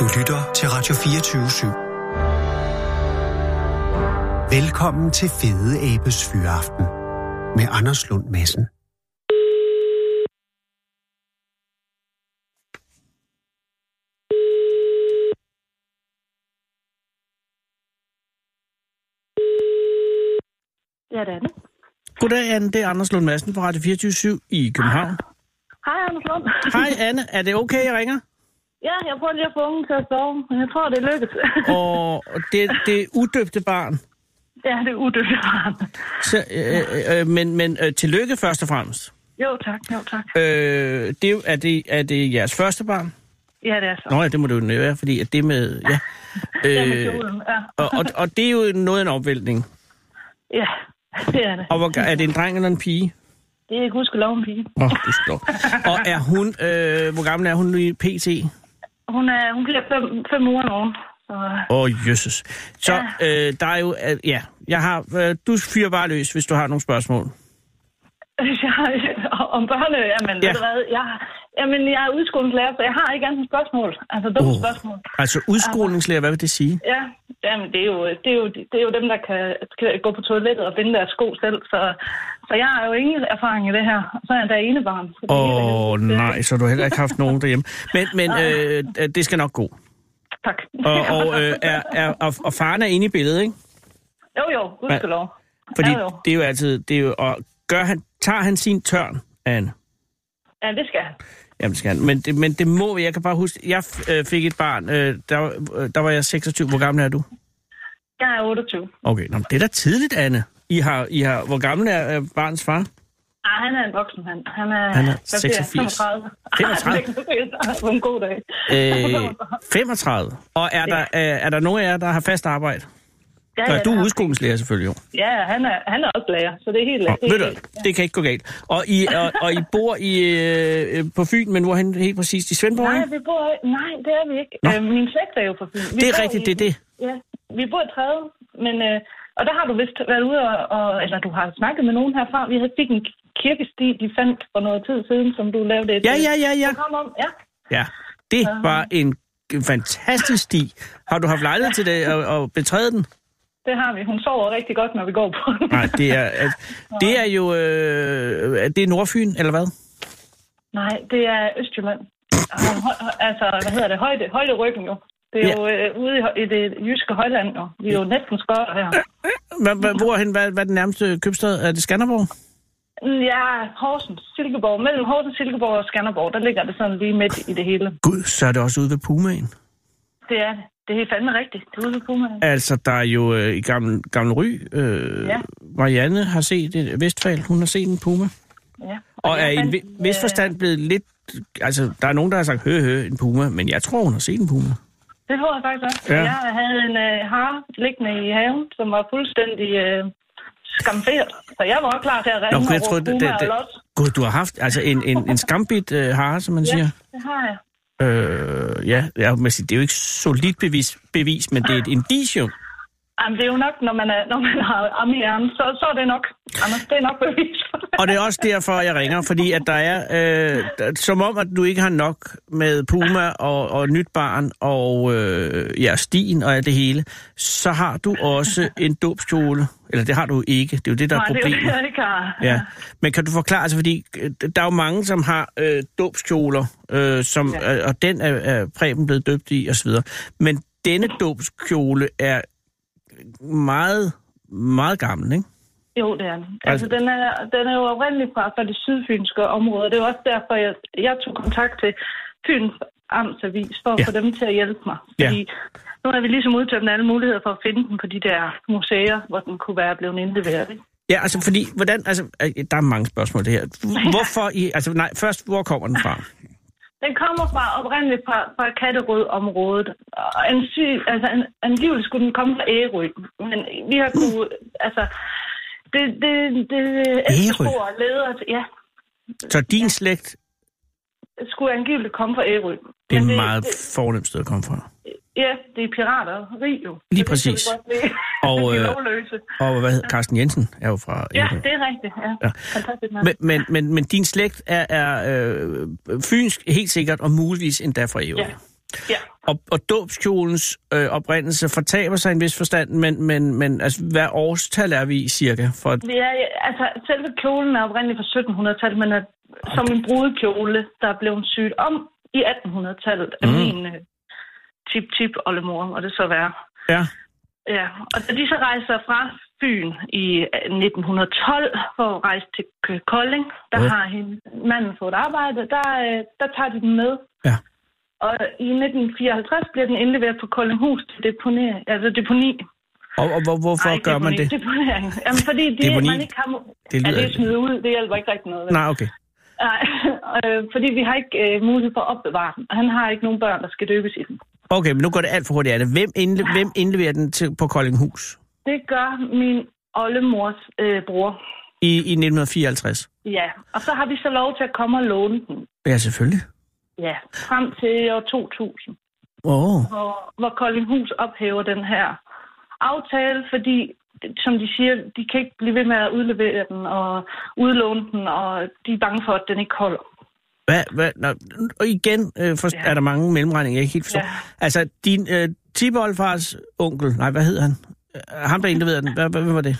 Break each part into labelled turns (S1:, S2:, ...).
S1: Du lytter til Radio 24 /7. Velkommen til Fede Abes Fyraften med Anders Lund Madsen.
S2: Ja, det er det.
S3: Goddag, Anne. Det er Anders Lund Madsen fra Radio 24 i København.
S2: Hej, Anders Lund.
S3: Hej, Anne. Er det okay, jeg ringer?
S2: Ja, jeg prøver lige at få ungen til at sove, men jeg tror, det er lykkedes.
S3: Og det, det udøbte barn.
S2: Ja, det er udøbte barn.
S3: Så, øh, øh, men men øh, tillykke først og fremmest.
S2: Jo, tak. Jo, tak.
S3: Øh, det, er jo- er, det, er det jeres første barn?
S2: Ja, det er så.
S3: Nå ja, det må det jo være, fordi at det med... Ja.
S2: Ja, med
S3: Øh,
S2: kjolen, ja.
S3: og, og, og det er jo noget af en opvæltning.
S2: ja, det er det.
S3: Og hvor, er det en dreng eller en pige?
S2: Det er gudskelov en pige.
S3: Åh, oh, du slår. Og er hun... Øh, hvor gammel er hun nu i PT?
S2: Hun, er, hun bliver fem, fem uger nogen. Så,
S3: Åh, oh, jøsses. Så øh, der er jo... Øh, ja, jeg har... Øh, du fyrer bare løs, hvis du har nogle spørgsmål.
S2: hvis jeg, om børne, jamen,
S3: Ja.
S2: ja. ved du hvad, jeg, jamen, jeg er udskolingslærer, så jeg har ikke andet spørgsmål. Altså, dumme
S3: Åh.
S2: oh. spørgsmål.
S3: Altså udskolingslærer, hvad vil det sige?
S2: Ja, jamen, det, er jo, det, er jo, det er jo dem, der kan, kan gå på toilettet og binde deres sko selv, så, så jeg har jo ingen erfaring i det her. Så er jeg da enebarn. så det er helt
S3: Åh
S2: helvede
S3: oh,
S2: til.
S3: nej, så du har heller ikke haft nogen derhjemme. Men, men øh, øh, det skal nok gå.
S2: Tak.
S3: Og, og, øh, er, er, og, og faren er inde i billedet, ikke?
S2: Jo, jo, gudskelov.
S3: Fordi
S2: Jo, jo.
S3: det er jo altid... Det er jo, og gør han, tager han sin tørn, Anne?
S2: Ja, det skal jeg.
S3: Jamen, det skal han. Men det, men det må... Jeg kan bare huske... Jeg øh, fik et barn. Øh, der, øh, der var jeg 26. Hvor gammel er du?
S2: Jeg er 28.
S3: Okay, nå, men det er da tidligt, Anne. I har, I har, hvor gammel er øh, barns far?
S2: Ah, han er en voksen, han. Han er,
S3: Han er
S2: hvad siger jeg,
S3: 86.
S2: 35.
S3: 35.
S2: 35. På en god dag.
S3: Øh, 35. Og er, der, øh, er der nogen af jer, der har fast arbejde?
S2: Ja,
S3: Ja,
S2: ja,
S3: du
S2: det
S3: er
S2: har-
S3: udskolingslærer selvfølgelig, jo.
S2: Ja, han er, han er også lærer, så det er helt...
S3: Nå,
S2: det er
S3: ved du,
S2: helt-
S3: det kan ikke gå galt. Og I, og, og I bor i, øh, øh, på Fyn, men hvorhen helt præcist? I Svendborg?
S2: Nej,
S3: ikke?
S2: vi bor... Nej, det er vi ikke.
S3: Nå.
S2: Øh, min slægt er jo på Fyn. Vi
S3: Det er
S2: bor
S3: rigtigt,
S2: i-
S3: det er det.
S2: Ja, vi bor i træde, men... Øh, og der har du vist været ude og, og... Eller du har snakket med nogen herfra. Vi havde fik en kirkesti, de fandt for noget tid siden, som du lavede et... øh,
S3: Ja, ja, ja, ja.
S2: Kom om, ja.
S3: Ja, det var en fantastisk sti. Har du haft lejlighed til det og, og betræde den?
S2: Det har vi. Hun sover rigtig godt, når vi går på den.
S3: Nej, det er, at- det er jo øh, er det er Nordfyn, eller hvad?
S2: Nej, det er Østjylland. Og hø- hø- Altså, hvad hedder det? Højde, højderyggen jo. Det er
S3: Ja.
S2: ja. jo øh, ude i, hø- i det jyske højland jo. Vi er jo næsten skørt her.
S3: Hva- hva- Hvorhen, hvad, hvad er den nærmeste købstad? Er det Skanderborg?
S2: Ja, Horsens, Silkeborg. Mellem Horsens, Silkeborg og Skanderborg, der ligger det sådan lige midt i det hele.
S3: Gud, så er det også ude ved Pumaen.
S2: Det er det. Det er fandme rigtigt. Det er ude ved Pumaen.
S3: Altså, der er jo øh, i gammel, gammel Ry, øh, ja.
S2: Ja.
S3: Marianne har set et Vestfald, hun har set en puma.
S2: Ja.
S3: Og øh, er
S2: jeg
S3: i en
S2: fandt, øh,
S3: vi- vis forstand blevet lidt... Altså, der er nogen, der har sagt, hø, hø, en puma, men jeg tror, hun har set en puma.
S2: øh, Det tror jeg faktisk også.
S3: Ja.
S2: Ja. Jeg havde en øh, hare liggende i haven, som var fuldstændig øh, skamferet. Så jeg var også klar til at ringe og
S3: for
S2: råbe Puma og
S3: det,
S2: los.
S3: Gud, du har haft altså en, en, en skambit øh, hare, som man ja. siger.
S2: Ja, det har jeg.
S3: Øh, ja, jeg må sige, det er jo ikke solidt bevis, bevis men det er et indicium.
S2: Jamen, det er jo nok, når man, er, når man har arm i hjernen, så, så er det nok. Anders, det er nok bevis for det.
S3: Og det er også derfor, jeg ringer, fordi at der er... Øh, der, som om, at du ikke har nok med Puma og, og nyt barn og øh, ja, stien og alt det hele, så har du også en dobskjole. Eller det har du ikke, det er jo det, der er
S2: Nej, det er jo
S3: problemet.
S2: det, jeg ikke har.
S3: Ja, men kan du forklare, altså fordi øh, der er jo mange, som har øh, dåbskjoler, øh, som, ja. øh, og den er, er Preben blevet døbt i osv., men denne dåbskjole er meget, meget gammel, ikke?
S2: Jo, det er den. Altså,
S3: Altså-
S2: den er, den er jo oprindelig fra, fra det sydfynske område. Det er jo også derfor, jeg, jeg tog kontakt til Fyns Amtsavis for at
S3: Ja.
S2: ja. få dem til at hjælpe mig.
S3: Ja.
S2: Fordi nu har vi ligesom udtømt alle muligheder for at finde den på de der museer, hvor den kunne være blevet indleveret. ikke?
S3: Ja, altså fordi, hvordan, altså, øh, der er mange spørgsmål det her. Hvorfor I, altså nej, først, hvor kommer den fra?
S2: Den kommer fra oprindeligt fra, fra Katterød-området. Og en sy, altså, en, angiveligt skulle den komme fra Ærø, men vi har kunne, altså, det, det, det, ældste
S3: Ærø?
S2: spor leder, ja,
S3: Så din slægt,
S2: skulle angiveligt komme fra Ærø.
S3: det er
S2: Men
S3: et meget fornemt sted at komme fra.
S2: Ja, det er pirater, rig jo. Så
S3: Lige
S2: det kan vi
S3: præcis.
S2: godt lide.
S3: Og,
S2: De er
S3: øh,
S2: lovløse.
S3: Og hvad hedder Carsten Jensen er jo fra
S2: Ja,
S3: Ærø.
S2: det er rigtigt. Ja.
S3: Ja.
S2: ja. Fantastisk mand.
S3: Men, men, men, men din slægt er, er øh, fynsk helt sikkert, og muligvis endda fra Ærø.
S2: Ja. ja.
S3: Og, og dåbskjolens øh, oprindelse fortaber sig i en vis forstand, men, men, men altså, hvad årstal er vi i cirka? For,
S2: Vi er, altså, selve kjolen er oprindeligt fra 1700-tallet, men er som en brudekjole, der blev syet om i 1800-tallet af
S3: Mm.
S2: mm. min øh, tip-tip-oldemor, og det så være.
S3: ja,
S2: Ja, og da de så rejser fra Fyn i øh, 1912 for at rejse til K- Kolding, der
S3: Ja.
S2: ja. har hende, manden fået arbejde, der, øh, der tager de den med.
S3: Ja.
S2: Og i 1954 bliver den indleveret på Koldinghus til deponi. Altså deponi.
S3: og, og hvor, hvorfor
S2: Ej,
S3: Ej, gør man
S2: deponi,
S3: det?
S2: Deponering. Jamen, fordi det,
S3: Deponi?
S2: man ikke har... mu-
S3: Det
S2: Ja,
S3: lyder-
S2: det er smidt ud. Det hjælper ikke rigtig noget. vel?
S3: Nej, okay.
S2: Nej, øh, fordi vi har ikke øh, mulighed for at opbevare den. Han har ikke nogen børn, der skal døbes i den.
S3: Okay, men nu går det alt for hurtigt af det. Hvem, indle, hvem indleverer den til, på Koldinghus
S2: Det gør min oldemors øh, bror.
S3: i, i 1954?
S2: Ja, og så har vi så lov til at komme og låne den.
S3: Ja, selvfølgelig.
S2: Ja, frem til år 2000,
S3: Åh, oh,
S2: hvor, hvor Koldinghus ophæver den her aftale, fordi som de siger, de kan ikke blive ved med at udlevere den og udlåne den, og de er bange for, at den ikke holder.
S3: hvad, hvad, nå, og igen øh, for,
S2: Ja.
S3: er der mange mellemregninger, jeg ikke helt forstår.
S2: Ja.
S3: Altså, din øh, tiboldfars onkel, nej, hvad hed han? Øh, Ham, der indleverede den, hvad, hvad, hvad var det?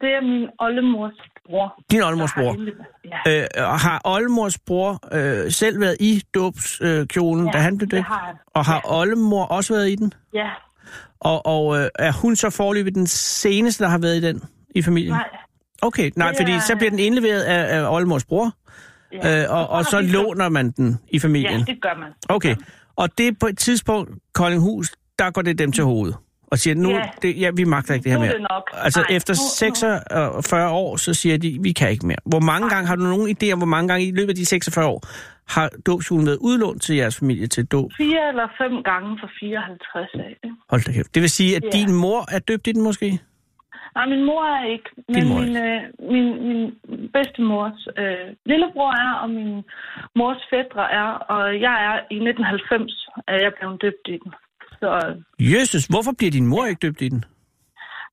S2: Det er min oldemors bror.
S3: Din
S2: der
S3: oldemors
S2: har
S3: bror.
S2: indleveret- Ja,
S3: Øh, og har oldemors bror øh, selv været i dåbskjolen, øh, kjolen,
S2: Ja,
S3: da han blev
S2: det
S3: døbt?
S2: har han.
S3: Og har oldemor også været i den?
S2: ja.
S3: Og, og øh, er hun så forløbig den seneste, der har været i den i familien?
S2: Nej,
S3: Okay, nej,
S2: Det
S3: fordi
S2: er-
S3: så bliver den indleveret af, af oldemors bror,
S2: ja.
S3: øh, og, og
S2: har
S3: så
S2: vi så-
S3: låner man den i
S2: ja,
S3: familien.
S2: det gør man.
S3: Okay, og det er på et tidspunkt, Koldinghus, der går det dem til hovedet. Og siger, nu,
S2: Ja.
S3: det, ja, vi magter ikke det her
S2: Nu er
S3: mere.
S2: det nok.
S3: Altså
S2: Nej,
S3: efter
S2: nu- nu-
S3: 46 år, så siger de, vi kan ikke mere. Hvor mange gange, har du nogen idé om, hvor mange gange i løbet af de 46 år, har dåbshulen været udlånt til jeres familie til dåb?
S2: Fire eller fem gange for 54 af. ikke?
S3: Hold da kæft. Det vil sige, at
S2: Ja.
S3: din mor er døbt i den måske?
S2: Nej, min mor er ikke, men
S3: mor er
S2: min, øh, min, min bedstemors øh, lillebror er, og min mors fædre er, og jeg er i 1990, at jeg blev døbt i den. Så,
S3: Jesus, hvorfor bliver din mor ikke døbt i den?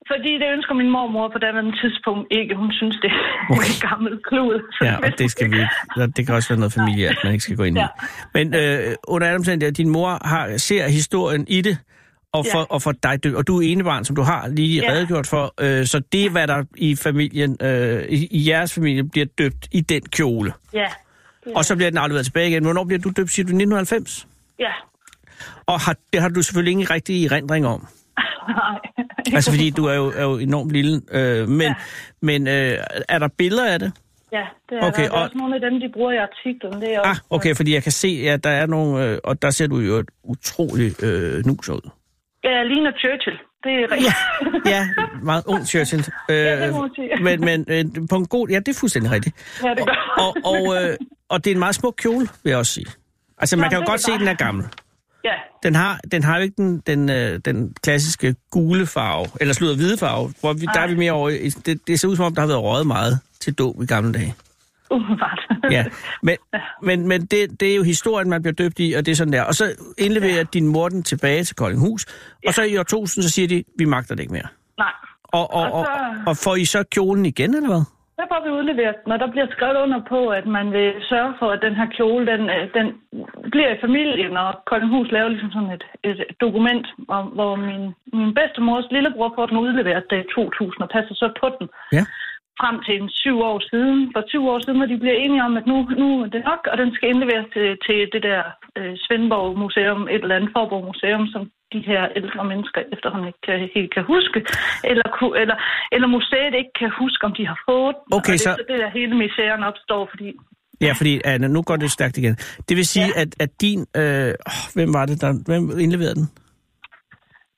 S2: fordi det ønsker min mormor på daværende tidspunkt ikke. Hun synes, det er okay. en gammel klud.
S3: Ja, og det skal vi ikke. Ja, Det kan også være noget familiært, man ikke skal gå ind i.
S2: Ja.
S3: Men øh, under alle omstændigheder, din mor har, ser historien i det, og for,
S2: Ja.
S3: og for dig, dø- og du er enebarn, som du har lige
S2: Ja.
S3: redegjort for, øh, så det er, hvad der i familien, øh, i, i jeres familie, bliver døbt i den kjole.
S2: Ja,
S3: Og så bliver den afleveret tilbage igen. Hvornår bliver du døbt, siger du, 1990?
S2: ja.
S3: Og har, det har du selvfølgelig ingen rigtig erindring om.
S2: Nej.
S3: Altså, fordi du er jo, er jo enormt lille. Øh, men ja. men øh, er der billeder af det?
S2: Ja, det er, okay,
S3: Okay,
S2: der. det er
S3: og-
S2: også nogle af dem, de bruger i artiklen. Det er
S3: Ah,
S2: også,
S3: okay, fordi jeg kan se, at der er nogle... Øh, og der ser du jo et utrolig øh, nuser ud.
S2: Ja, jeg ligner Churchill. Det er rigtigt.
S3: Ja, meget ung Churchill. Øh,
S2: Ja, det må man sige.
S3: men men øh, på en god... Ja, det er fuldstændig rigtigt.
S2: Ja, det gør
S3: Og, og, øh, og det er en meget smuk kjole, vil jeg også sige. Altså, man
S2: Nå,
S3: kan jo
S2: det er
S3: godt se,
S2: bare-
S3: at den er gammel.
S2: Ja,
S3: Den har, den har jo ikke den, den, øh, den klassiske gule farve, eller sludder hvide farve, hvor vi, der er
S2: Nej.
S3: vi mere over i, det, det ser ud som om, der har været røget meget til dåb i gamle dage.
S2: umiddelbart.
S3: Ja, men, men, men det, det er jo historien, man bliver døbt i, og det er sådan der. Og så indleverer ja. din mor den tilbage til Koldinghus, og så i år 1000, så siger de, vi magter det ikke mere.
S2: Nej.
S3: Og, og, og,
S2: Og
S3: så...
S2: så-
S3: og, og får I så kjolen igen, eller hvad?
S2: Der får vi udleveret den, og der bliver skrevet under på, at man vil sørge for, at den her kjole, den, øh, den bliver i familien, og Koldinghus laver ligesom sådan et, et dokument, om, hvor min, min bedstemors lillebror får den udleveret der i 2000, og passer så på den
S3: Ja.
S2: frem til en syv år siden. For syv år siden, hvor de bliver enige om, at nu, nu er det nok, og den skal indleveres til, til det der øh, Svendborg Museum, et eller andet Forborg Museum, som de her ældre mennesker efterhånden ikke kan, helt kan huske, eller, ku- eller, eller museet ikke kan huske, om de har fået den. og
S3: Okay,
S2: det,
S3: så-
S2: er så det der hele misæren opstår, fordi
S3: Ja, fordi Anna, nu går det stærkt igen. Det vil sige, ja. at, at din... Øh, åh, hvem var det, der hvem indleverede den?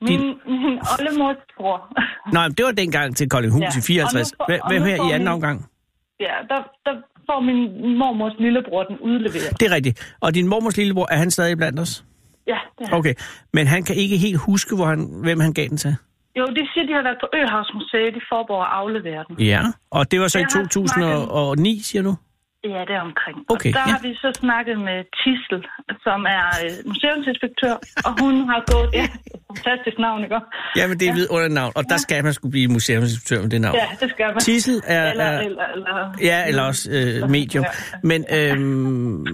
S2: min, min oldemors bror,
S3: Nej, men det var dengang til Koldinghus
S2: Ja.
S3: ja. i 54.
S2: Og nu får-
S3: Hvem-
S2: og
S3: Hvem
S2: nu
S3: her
S2: får
S3: i anden
S2: min-
S3: omgang?
S2: ja, der, der får min mormors lillebror den udleveret.
S3: Det er rigtigt. Og din mormors lillebror, er han stadig blandt os?
S2: Ja, det er.
S3: Okay, men han kan ikke helt huske, hvor han, hvem han gav den til?
S2: Jo, de siger, de har været på Øhavsmuseet i Forborg og afleveret den.
S3: Ja, og det var så i
S2: Jeg har haft
S3: 2009, siger du?
S2: Ja, det er omkring.
S3: Okay,
S2: og der
S3: ja.
S2: har vi så snakket med Tissel, som er øh, museumsinspektør, og hun har gået... Ja, fantastisk navn, ikke?
S3: Jamen, det er et vidunderligt navn, og der skal man skulle blive museumsinspektør med det navn.
S2: Ja, det skal man.
S3: Tissel er...
S2: Eller,
S3: er
S2: eller, eller,
S3: ja, eller også øh, medium. Men, øh,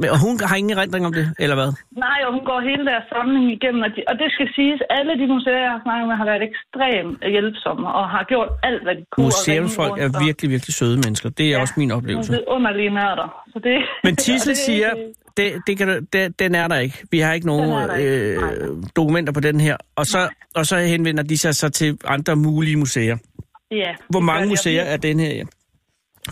S3: men og hun har ingen erindring om det, eller hvad?
S2: Nej, og hun går hele deres samling igennem, og, de, og det skal siges, alle de museer, jeg har snakket med, har været ekstremt hjælpsomme, og har gjort alt, hvad de kunne. og ringe
S3: Museumsfolk
S2: rundt
S3: er
S2: og-
S3: virkelig, virkelig søde mennesker. Det er også min oplevelse.
S2: Nogle underlige nørder. Så det,
S3: Men
S2: og
S3: Tissel
S2: det-
S3: siger, det, det kan, du- det, den er der ikke. Vi har ikke
S2: er
S3: nogen
S2: der ikke.
S3: øh, dokumenter på den her. Og så, og så henvender de sig så til andre mulige museer.
S2: Ja.
S3: Hvor mange
S2: Ja,
S3: museer
S2: jeg-
S3: er den her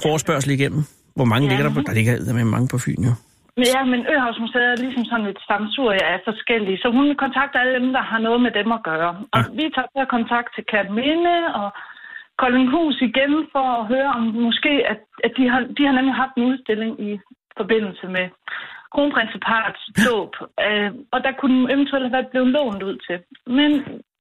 S3: forespørgsel igennem? Hvor mange
S2: Ja.
S3: ligger der på? Der ligger med mange på Fyn, jo.
S2: Men Ja, men Øhavsmuseet er ligesom sådan et samsurie af forskellige, så hun kontakter alle dem, der har noget med dem at gøre. Og vi tager så kontakt til Katminde og Koldinghus igen for at høre om måske, at, at de, har, de har nemlig haft en udstilling i forbindelse med kronprinseparets dåb, øh, og der kunne den eventuelt have været blevet lånt ud til. Men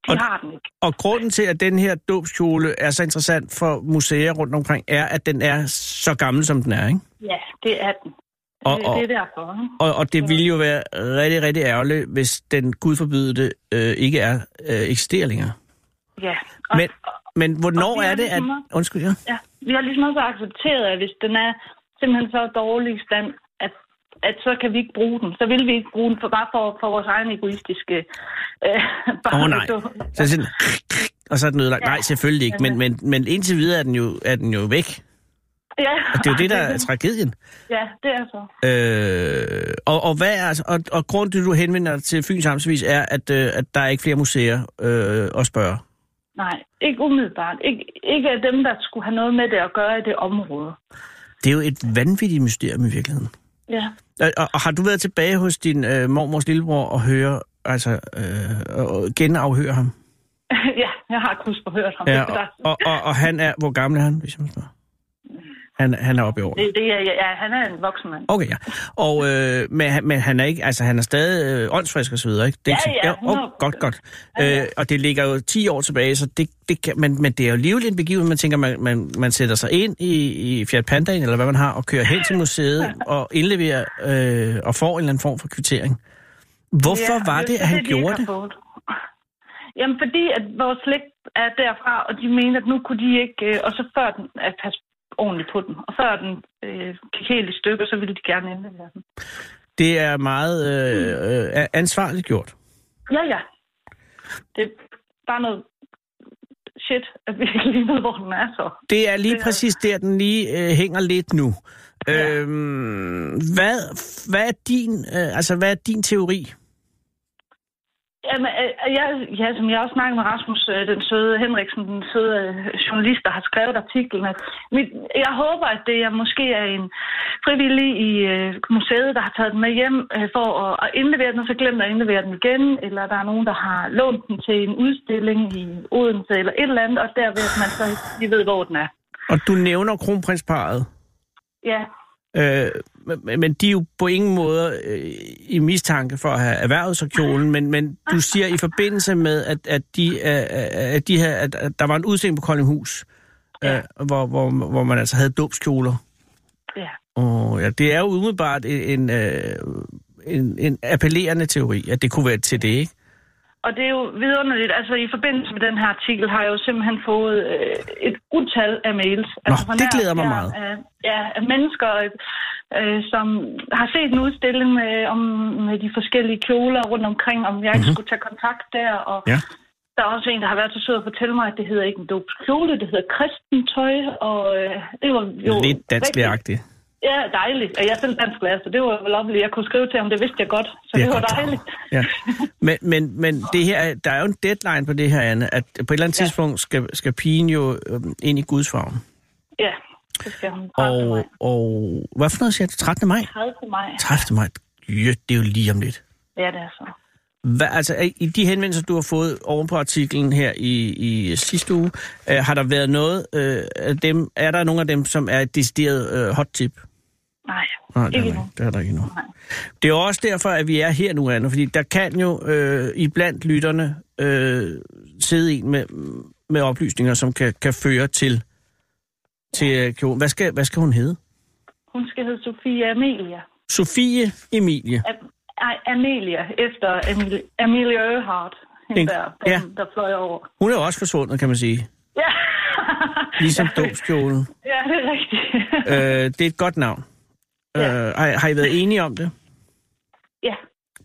S2: de
S3: Og-
S2: har den ikke.
S3: Og grunden til, at den her dåbskjole er så interessant for museer rundt omkring, er, at den er så gammel, som den er, ikke?
S2: Ja, det er den.
S3: Og-
S2: det,
S3: og-
S2: det er derfor. ikke?
S3: Og, og det ville jo være rigtig, rigtig ærgerligt, hvis den gudforbydede det øh, ikke er øh, eksisterer længere.
S2: Ja. Og,
S3: Men, men hvornår
S2: og vi
S3: er
S2: har
S3: det, at...
S2: ligesom også-
S3: Undskyld, ja.
S2: Ja, vi har ligesom også accepteret, at hvis den er simpelthen så dårlig i stand, at, at så kan vi ikke bruge den. Så vil vi ikke bruge den, for bare for, for vores egen egoistiske... Øh,
S3: Åh
S2: bare-
S3: oh, nej. Så er sådan, og så er den ødelagt. Nej, selvfølgelig ikke. Men, men, men indtil videre er den, jo, er den jo væk.
S2: Ja.
S3: Og det er jo det, der altså- er tragedien.
S2: Ja, det er så.
S3: Øh, og, og, hvad er, og, og grunden til, at du henvender dig til Fyns Amtsvis, er, at, øh, at der er ikke flere museer øh, at spørge.
S2: Nej, ikke umiddelbart. Ik- ikke af dem, der skulle have noget med det at gøre i det område.
S3: Det er jo et vanvittigt mysterium i virkeligheden.
S2: Ja.
S3: Og, og, og har du været tilbage hos din øh, mormors lillebror og høre, altså, øh, og- og genafhøre ham?
S2: ja, jeg har kun forhørt ham.
S3: Ja,
S2: Det er
S3: og,
S2: der-
S3: og, og, og han er, hvor gammel er han, hvis jeg må spørge? Han, han er oppe i årene.
S2: det, det er, ja, ja, han er en voksen mand.
S3: Okay, ja. Og, øh, men, han- men han er ikke, altså han er stadig øh, åndsfrisk og så videre, ikke? Det er
S2: Ja,
S3: ikke
S2: ja,
S3: sådan- åh,
S2: 100%.
S3: godt, godt.
S2: Ja, ja.
S3: Øh, og det ligger jo 10 år tilbage, så det, det kan, men, men det er jo alligevel en begivenhed, man tænker, man, man, man sætter sig ind i, i Fiat Pandaen, eller hvad man har, og kører hen til museet og indleverer øh, og får en eller anden form for kvittering. Hvorfor
S2: og
S3: ja, var
S2: er
S3: det,
S2: jo
S3: at han
S2: de
S3: gjorde
S2: ikke
S3: det?
S2: har fået. Jamen, fordi at vores slægt er derfra, og de mente, at nu kunne de ikke... Øh, og så før den... At passe ordentligt på den. Og før den øh, gik helt i stykker, så ville de gerne indlevere den.
S3: Det er meget øh,
S2: Mm.
S3: øh, ansvarligt gjort.
S2: Ja, ja. Det er bare noget shit, at vi ikke lige ved, hvor den er så.
S3: Det er lige
S2: Det er-
S3: præcis der, den lige øh, hænger lidt nu. Ja. Øhm, hvad, hvad, er din, øh, altså, hvad er din teori?
S2: Jamen, øh, jeg, ja, som jeg også snakkede med Rasmus, øh, den søde Henriksen, den søde øh, journalist, der har skrevet artiklen, at mit, jeg håber, at det er måske er en frivillig i øh, museet, der har taget den med hjem øh, for at, at indlevere den, og så glemt at indlevere den igen, eller der er nogen, der har lånt den til en udstilling i Odense, eller et eller andet, og derved, at man så ikke lige ved, hvor den er.
S3: Og du nævner kronprinsparet,
S2: Ja,
S3: øh, men- men de er jo på ingen måde øh, i mistanke for at have erhvervet sig kjolen, men, men du siger i forbindelse med, at, at, de, øh, at, de her, at, at der var en udstilling på Koldinghus, øh, hvor, hvor, hvor man altså havde dåbskjoler.
S2: ja.
S3: Oh, ja, det er jo umiddelbart en, en, øh, en, en appellerende teori, at det kunne være til det, ikke?
S2: Og det er jo vidunderligt. Altså, i forbindelse med den her artikel har jeg jo simpelthen fået øh, et utal af mails. altså, fra
S3: det
S2: nær-
S3: glæder mig
S2: nær-
S3: meget.
S2: Af, ja, af mennesker, øh, som har set en udstilling med, om, med de forskellige kjoler rundt omkring, om jeg ikke skulle tage kontakt der. Og
S3: Mhm. Ja.
S2: der er også en, der har været så sød at fortælle mig, at det hedder ikke en dopskjole, det hedder kristentøj. Og øh, det var jo...
S3: Lidt
S2: rigtig-
S3: dansklægagtigt.
S2: Ja, dejligt. Og jeg er selv dansklærer, så det var vel lovligt. Jeg kunne skrive til ham, det vidste jeg godt. Så
S3: Det
S2: det,
S3: er
S2: det var
S3: godt.
S2: dejligt.
S3: Ja. Men, men, men det her, er- der er jo en deadline på det her, Anne, at på et eller andet
S2: Ja.
S3: tidspunkt skal, skal pigen jo øhm, ind i Guds favn.
S2: Ja, det skal han.
S3: Og, og hvad for noget siger du? 13. maj?
S2: 30. maj.
S3: 30. maj? Jø, det er jo lige om lidt.
S2: Ja, det er så.
S3: Hvad, altså, er- i de henvendelser, du har fået oven på artiklen her i, i sidste uge, øh, har der været noget øh, af dem, er der nogen af dem, som er et decideret øh, hot tip?
S2: Nej,
S3: Nej, det er,
S2: ikke
S3: der
S2: endnu.
S3: ikke. det er der ikke endnu.
S2: Nej.
S3: Det er jo også derfor, at vi er her nu, Anne, fordi der kan jo øh, iblandt lytterne øh, sidde en med, med oplysninger, som kan, kan føre til, til øh, kjolen. Hvad skal, hvad skal hun hedde?
S2: Hun skal hedde Sofia Amelia.
S3: Sofie Emilie.
S2: Am- Ej, Amelia, efter Amelia, Amelia Earhart, hende
S3: En-
S2: der,
S3: ja.
S2: ja. der fløj over.
S3: Hun er jo også forsvundet, kan man sige.
S2: Ja.
S3: Ligesom dåbskjolen.
S2: ja, det er rigtigt.
S3: Øh, det er et godt navn.
S2: Ja.
S3: Øh, har, har I været enige om det?
S2: ja,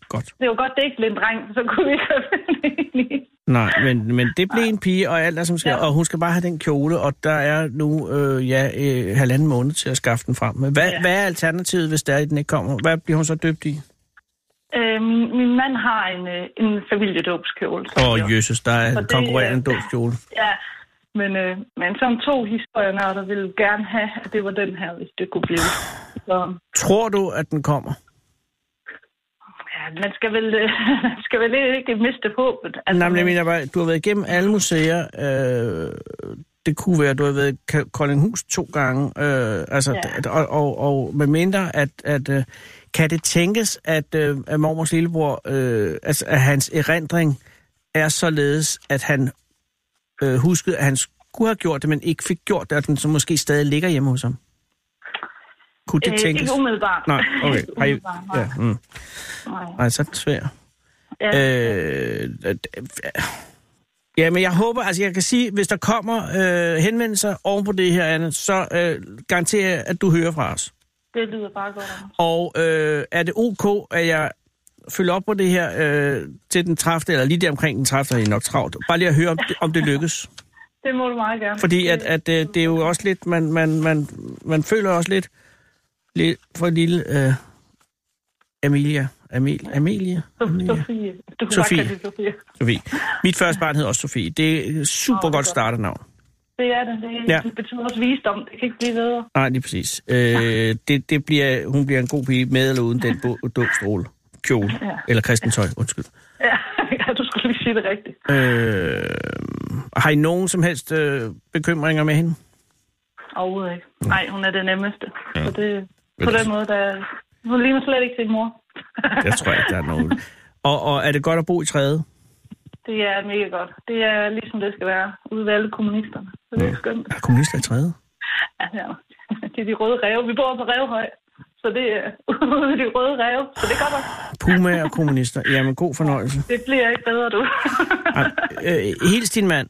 S3: Godt.
S2: det var godt, det ikke blev en dreng, så kunne vi ikke have været enige.
S3: Nej, men, men det blev en pige, og alt er som skal. Ja.
S2: Ja.
S3: Og hun skal bare have den kjole, og der er nu øh, ja, øh, halvanden måned til at skaffe den frem. Men Hvad, ja.
S2: Ja.
S3: hvad er alternativet, hvis der er, den ikke kommer? Hvad bliver hun så døbt i?
S2: Øh, min, min mand har en, øh, en familiedåbskjole. så-
S3: Åh, oh, jøses, der er
S2: Og
S3: en
S2: det- øh,
S3: konkurrerende dåbskjole.
S2: Ja, men, øh, men som to historienørder ville gerne have, at det var den her, hvis det kunne blive. Så
S3: Tror du, at den kommer?
S2: ja, man skal vel, øh, man skal vel ikke miste håbet. Altså,
S3: Nej, men jeg mener bare, du har været igennem alle museer. Øh, det kunne være, du har været i Ka- Koldinghus to gange. Øh, altså,
S2: Ja.
S3: ja. og, og, og med mindre, at, at øh, kan det tænkes, at, øh, at mormors lillebror, øh, altså, at hans erindring er således, at han øh, huskede, at han skulle have gjort det, men ikke fik gjort det, og den så måske stadig ligger hjemme hos ham? Kunne det
S2: øh,
S3: tænkes?
S2: Ikke umiddelbart.
S3: Nej, okay.
S2: Ikke
S3: Har I,
S2: umiddelbart, nej.
S3: ja, mm.
S2: Nej.
S3: Nej, så er det svært.
S2: Ja.
S3: Øh, øh, ja, men jeg håber, altså jeg kan sige, hvis der kommer øh, henvendelser oven på det her, Anne, så øh, garanterer jeg, at du hører fra os.
S2: Det lyder bare godt. Anders.
S3: Og øh, er det ok, at jeg følger op på det her øh, til den 30. eller lige der omkring den 30. er I nok travlt. Bare lige at høre, om det, om det lykkes.
S2: Det må du meget gerne.
S3: Fordi at, at øh, det er jo også lidt, man, man, man, man føler også lidt, lidt for lille øh, Amelia. Amel, Amelia?
S2: So-
S3: Amelia?
S2: Sofie. Du kunne
S3: Mm,
S2: Sofie. Bare
S3: Sofie.
S2: kalde det Sofie.
S3: Sofie. Mit første barn hedder også Sofie. Det er et super
S2: Åh,
S3: godt
S2: godt.
S3: starternavn.
S2: Det er det. Det,
S3: Ja.
S2: ja. det betyder også visdom. Det kan ikke blive bedre.
S3: Nej, lige præcis. Øh, det, det bliver, hun bliver en god pige med eller uden den bo- dåbstråle. Kjole.
S2: Ja.
S3: Eller kristentøj, undskyld.
S2: Ja, ja du skulle lige sige det rigtigt.
S3: Øh, har I nogen som helst øh, bekymringer med hende?
S2: Overhovedet ikke. Nej, hun er det nemmeste. Ja. Så det, på
S3: Vel.
S2: den måde, der, hun ligner slet ikke sin mor.
S3: Jeg tror ikke, der er nogen. Og, og er det godt at bo i træet?
S2: Det er mega godt. Det er ligesom det skal være ude ved alle kommunisterne. Så det er skønt.
S3: Er der kommunister i træet?
S2: Ja, ja. Det er de røde ræve. Vi bor på Rævehøj, så det er ude ved de røde ræve. Så det kommer.
S3: Puma og kommunister. Jamen, god fornøjelse.
S2: Det bliver ikke bedre, du.
S3: Ej, Øh, hils din mand,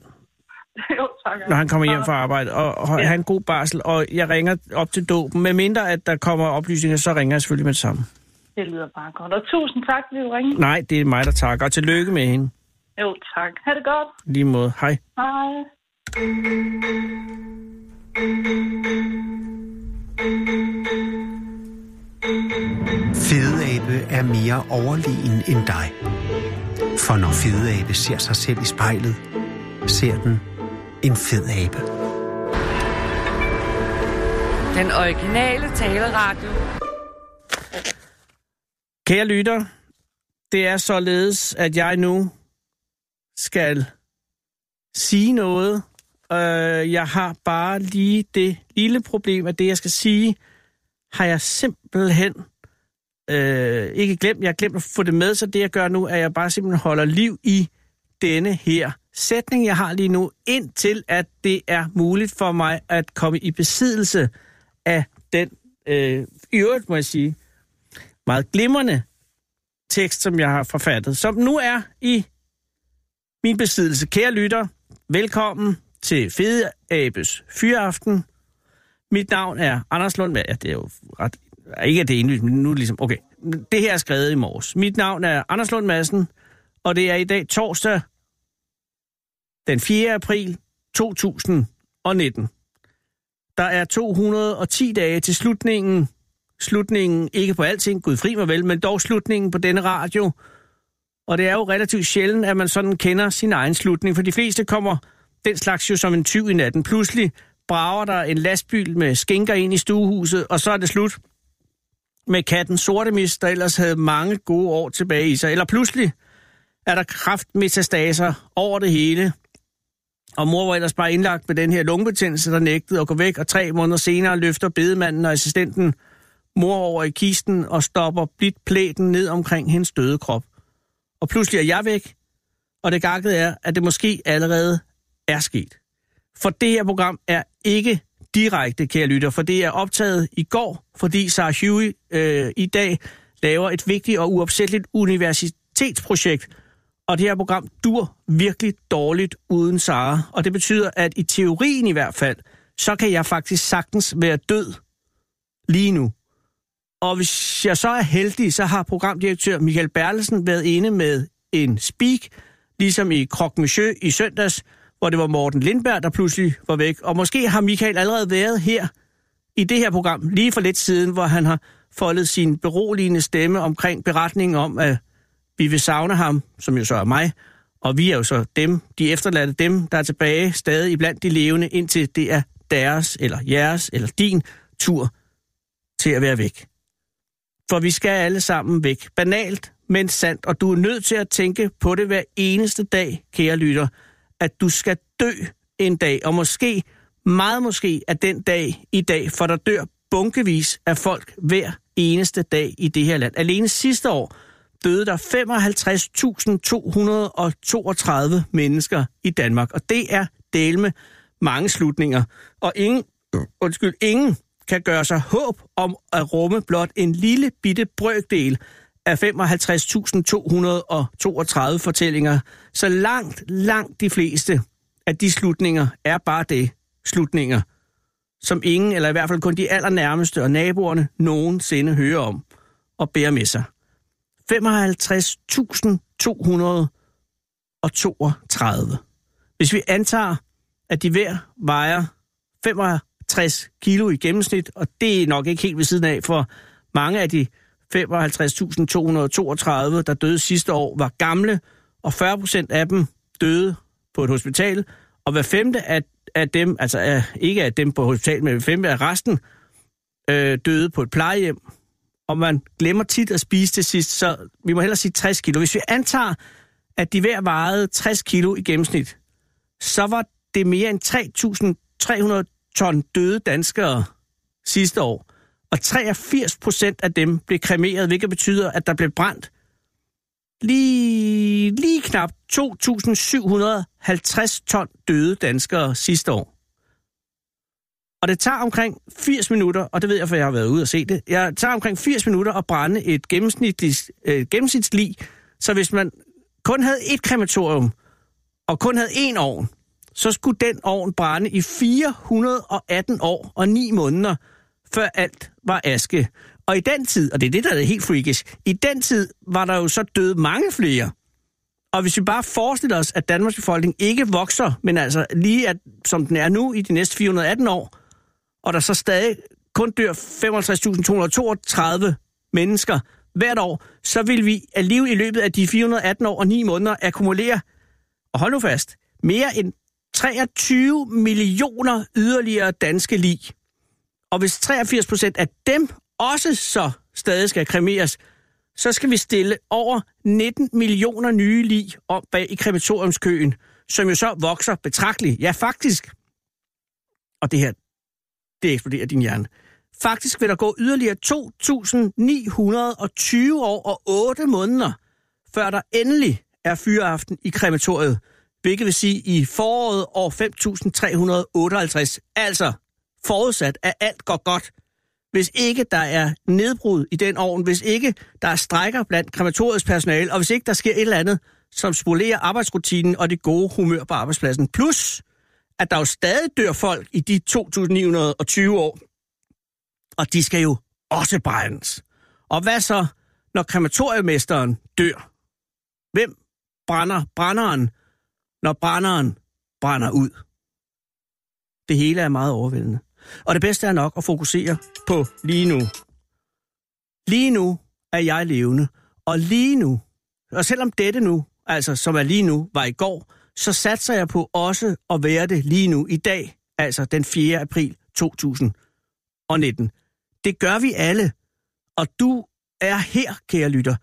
S2: jo, tak.
S3: når han kommer hjem fra arbejde, og, og
S2: Ja.
S3: have en god barsel. Og jeg ringer op til dåben. Med mindre, at der kommer oplysninger, så ringer jeg selvfølgelig med det samme.
S2: Det lyder bare godt. Og tusind tak, fordi du ringede.
S3: Nej, det er mig, der takker. Og tillykke med hende.
S2: Jo, tak. Ha' det godt.
S3: Lige måde. Hej.
S2: Hej.
S1: Fedeabe er mere overlegen end dig. For når fedeabe ser sig selv i spejlet, ser den en fed abe.
S4: Den originale taleradio.
S3: Kære lytter, det er således, at jeg nu skal sige noget. Øh, jeg har bare lige det lille problem, at det, jeg skal sige, har jeg simpelthen øh, ikke glemt. Jeg har glemt at få det med, så det, jeg gør nu, er, at jeg bare simpelthen holder liv i denne her sætning, jeg har lige nu, indtil at det er muligt for mig at komme i besiddelse af den, øh, i øvrigt må jeg sige, meget glimrende tekst, som jeg har forfattet, som nu er i min besiddelse. Kære lytter, velkommen til Fede Abes Fyraften. Mit navn er Anders Lund. Ja, det er jo ret... Ikke at det er indlysende, men nu er det ligesom... Okay, det her er skrevet i morges. Mit navn er Anders Lund Madsen, og det er i dag torsdag den 4. april 2019. Der er 210 dage til slutningen slutningen, ikke på alting, Gud fri mig vel, men dog slutningen på denne radio. Og det er jo relativt sjældent, at man sådan kender sin egen slutning, for de fleste kommer den slags jo som en tyv i natten. Pludselig brager der en lastbil med skinker ind i stuehuset, og så er det slut med katten Sortemis, der ellers havde mange gode år tilbage i sig. Eller pludselig er der kraftmetastaser over det hele, og mor var ellers bare indlagt med den her lungebetændelse, der nægtede at gå væk, og tre måneder senere løfter bedemanden og assistenten mor over i kisten og stopper blidt plæten ned omkring hendes døde krop. Og pludselig er jeg væk, og det gakkede er, at det måske allerede er sket. For det her program er ikke direkte, kære lytter, for det er optaget i går, fordi Sarah Huey øh, i dag laver et vigtigt og uopsætteligt universitetsprojekt og det her program dur virkelig dårligt uden Sara. Og det betyder, at i teorien i hvert fald, så kan jeg faktisk sagtens være død lige nu. Og hvis jeg så er heldig, så har programdirektør Michael Berlesen været inde med en speak, ligesom i Croque Monsieur i søndags, hvor det var Morten Lindberg, der pludselig var væk. Og måske har Michael allerede været her i det her program lige for lidt siden, hvor han har foldet sin beroligende stemme omkring beretningen om, at vi vil savne ham, som jo så er mig, og vi er jo så dem, de efterladte dem, der er tilbage stadig blandt de levende, indtil det er deres, eller jeres, eller din tur til at være væk. For vi skal alle sammen væk. Banalt, men sandt. Og du er nødt til at tænke på det hver eneste dag, kære lytter, at du skal dø en dag. Og måske, meget måske, er den dag i dag, for der dør bunkevis af folk hver eneste dag i det her land. Alene sidste år døde der 55.232 mennesker i Danmark. Og det er del med mange slutninger. Og ingen, undskyld, ingen kan gøre sig håb om at rumme blot en lille bitte brøkdel af 55.232 fortællinger, så langt, langt de fleste af de slutninger er bare det, slutninger, som ingen, eller i hvert fald kun de allernærmeste og naboerne, nogensinde hører om og bærer med sig. 55.232. Hvis vi antager, at de hver vejer 65 kilo i gennemsnit, og det er nok ikke helt ved siden af, for mange af de 55.232, der døde sidste år, var gamle, og 40 procent af dem døde på et hospital, og hver femte af, af dem, altså af, ikke af dem på hospital, men hver femte af resten, øh, døde på et plejehjem, og man glemmer tit at spise til sidst, så vi må hellere sige 60 kilo. Hvis vi antager, at de hver vejede 60 kilo i gennemsnit, så var det mere end 3.300 ton døde danskere sidste år. Og 83 procent af dem blev kremeret, hvilket betyder, at der blev brændt lige, lige knap 2.750 ton døde danskere sidste år. Og det tager omkring 80 minutter, og det ved jeg, for jeg har været ude og se det, jeg tager omkring 80 minutter at brænde et gennemsnitligt, øh, gennemsnitslig, så hvis man kun havde et krematorium, og kun havde én ovn, så skulle den ovn brænde i 418 år og 9 måneder, før alt var aske. Og i den tid, og det er det, der er helt freakish, i den tid var der jo så døde mange flere. Og hvis vi bare forestiller os, at Danmarks befolkning ikke vokser, men altså lige at, som den er nu i de næste 418 år, og der så stadig kun dør 55.232 mennesker hvert år, så vil vi alligevel i løbet af de 418 år og 9 måneder akkumulere, og hold nu fast, mere end 23 millioner yderligere danske lig. Og hvis 83 procent af dem også så stadig skal kremeres, så skal vi stille over 19 millioner nye lig op bag i krematoriumskøen, som jo så vokser betragteligt. Ja, faktisk. Og det her, det eksploderer din hjerne. Faktisk vil der gå yderligere 2.920 år og 8 måneder, før der endelig er fyreaften i krematoriet, hvilket vil sige i foråret år 5358. Altså forudsat, at alt går godt, hvis ikke der er nedbrud i den ovn, hvis ikke der er strækker blandt krematoriets personale, og hvis ikke der sker et eller andet, som spolerer arbejdsrutinen og det gode humør på arbejdspladsen. Plus, at der jo stadig dør folk i de 2.920 år, og de skal jo også brændes. Og hvad så, når krematoriemesteren dør? Hvem brænder brænderen, når brænderen brænder ud? Det hele er meget overvældende. Og det bedste er nok at fokusere på lige nu. Lige nu er jeg levende, og lige nu, og selvom dette nu, altså som er lige nu, var i går, så satser jeg på også at være det lige nu i dag, altså den 4. april 2019. Det gør vi alle, og du er her, kære lytter.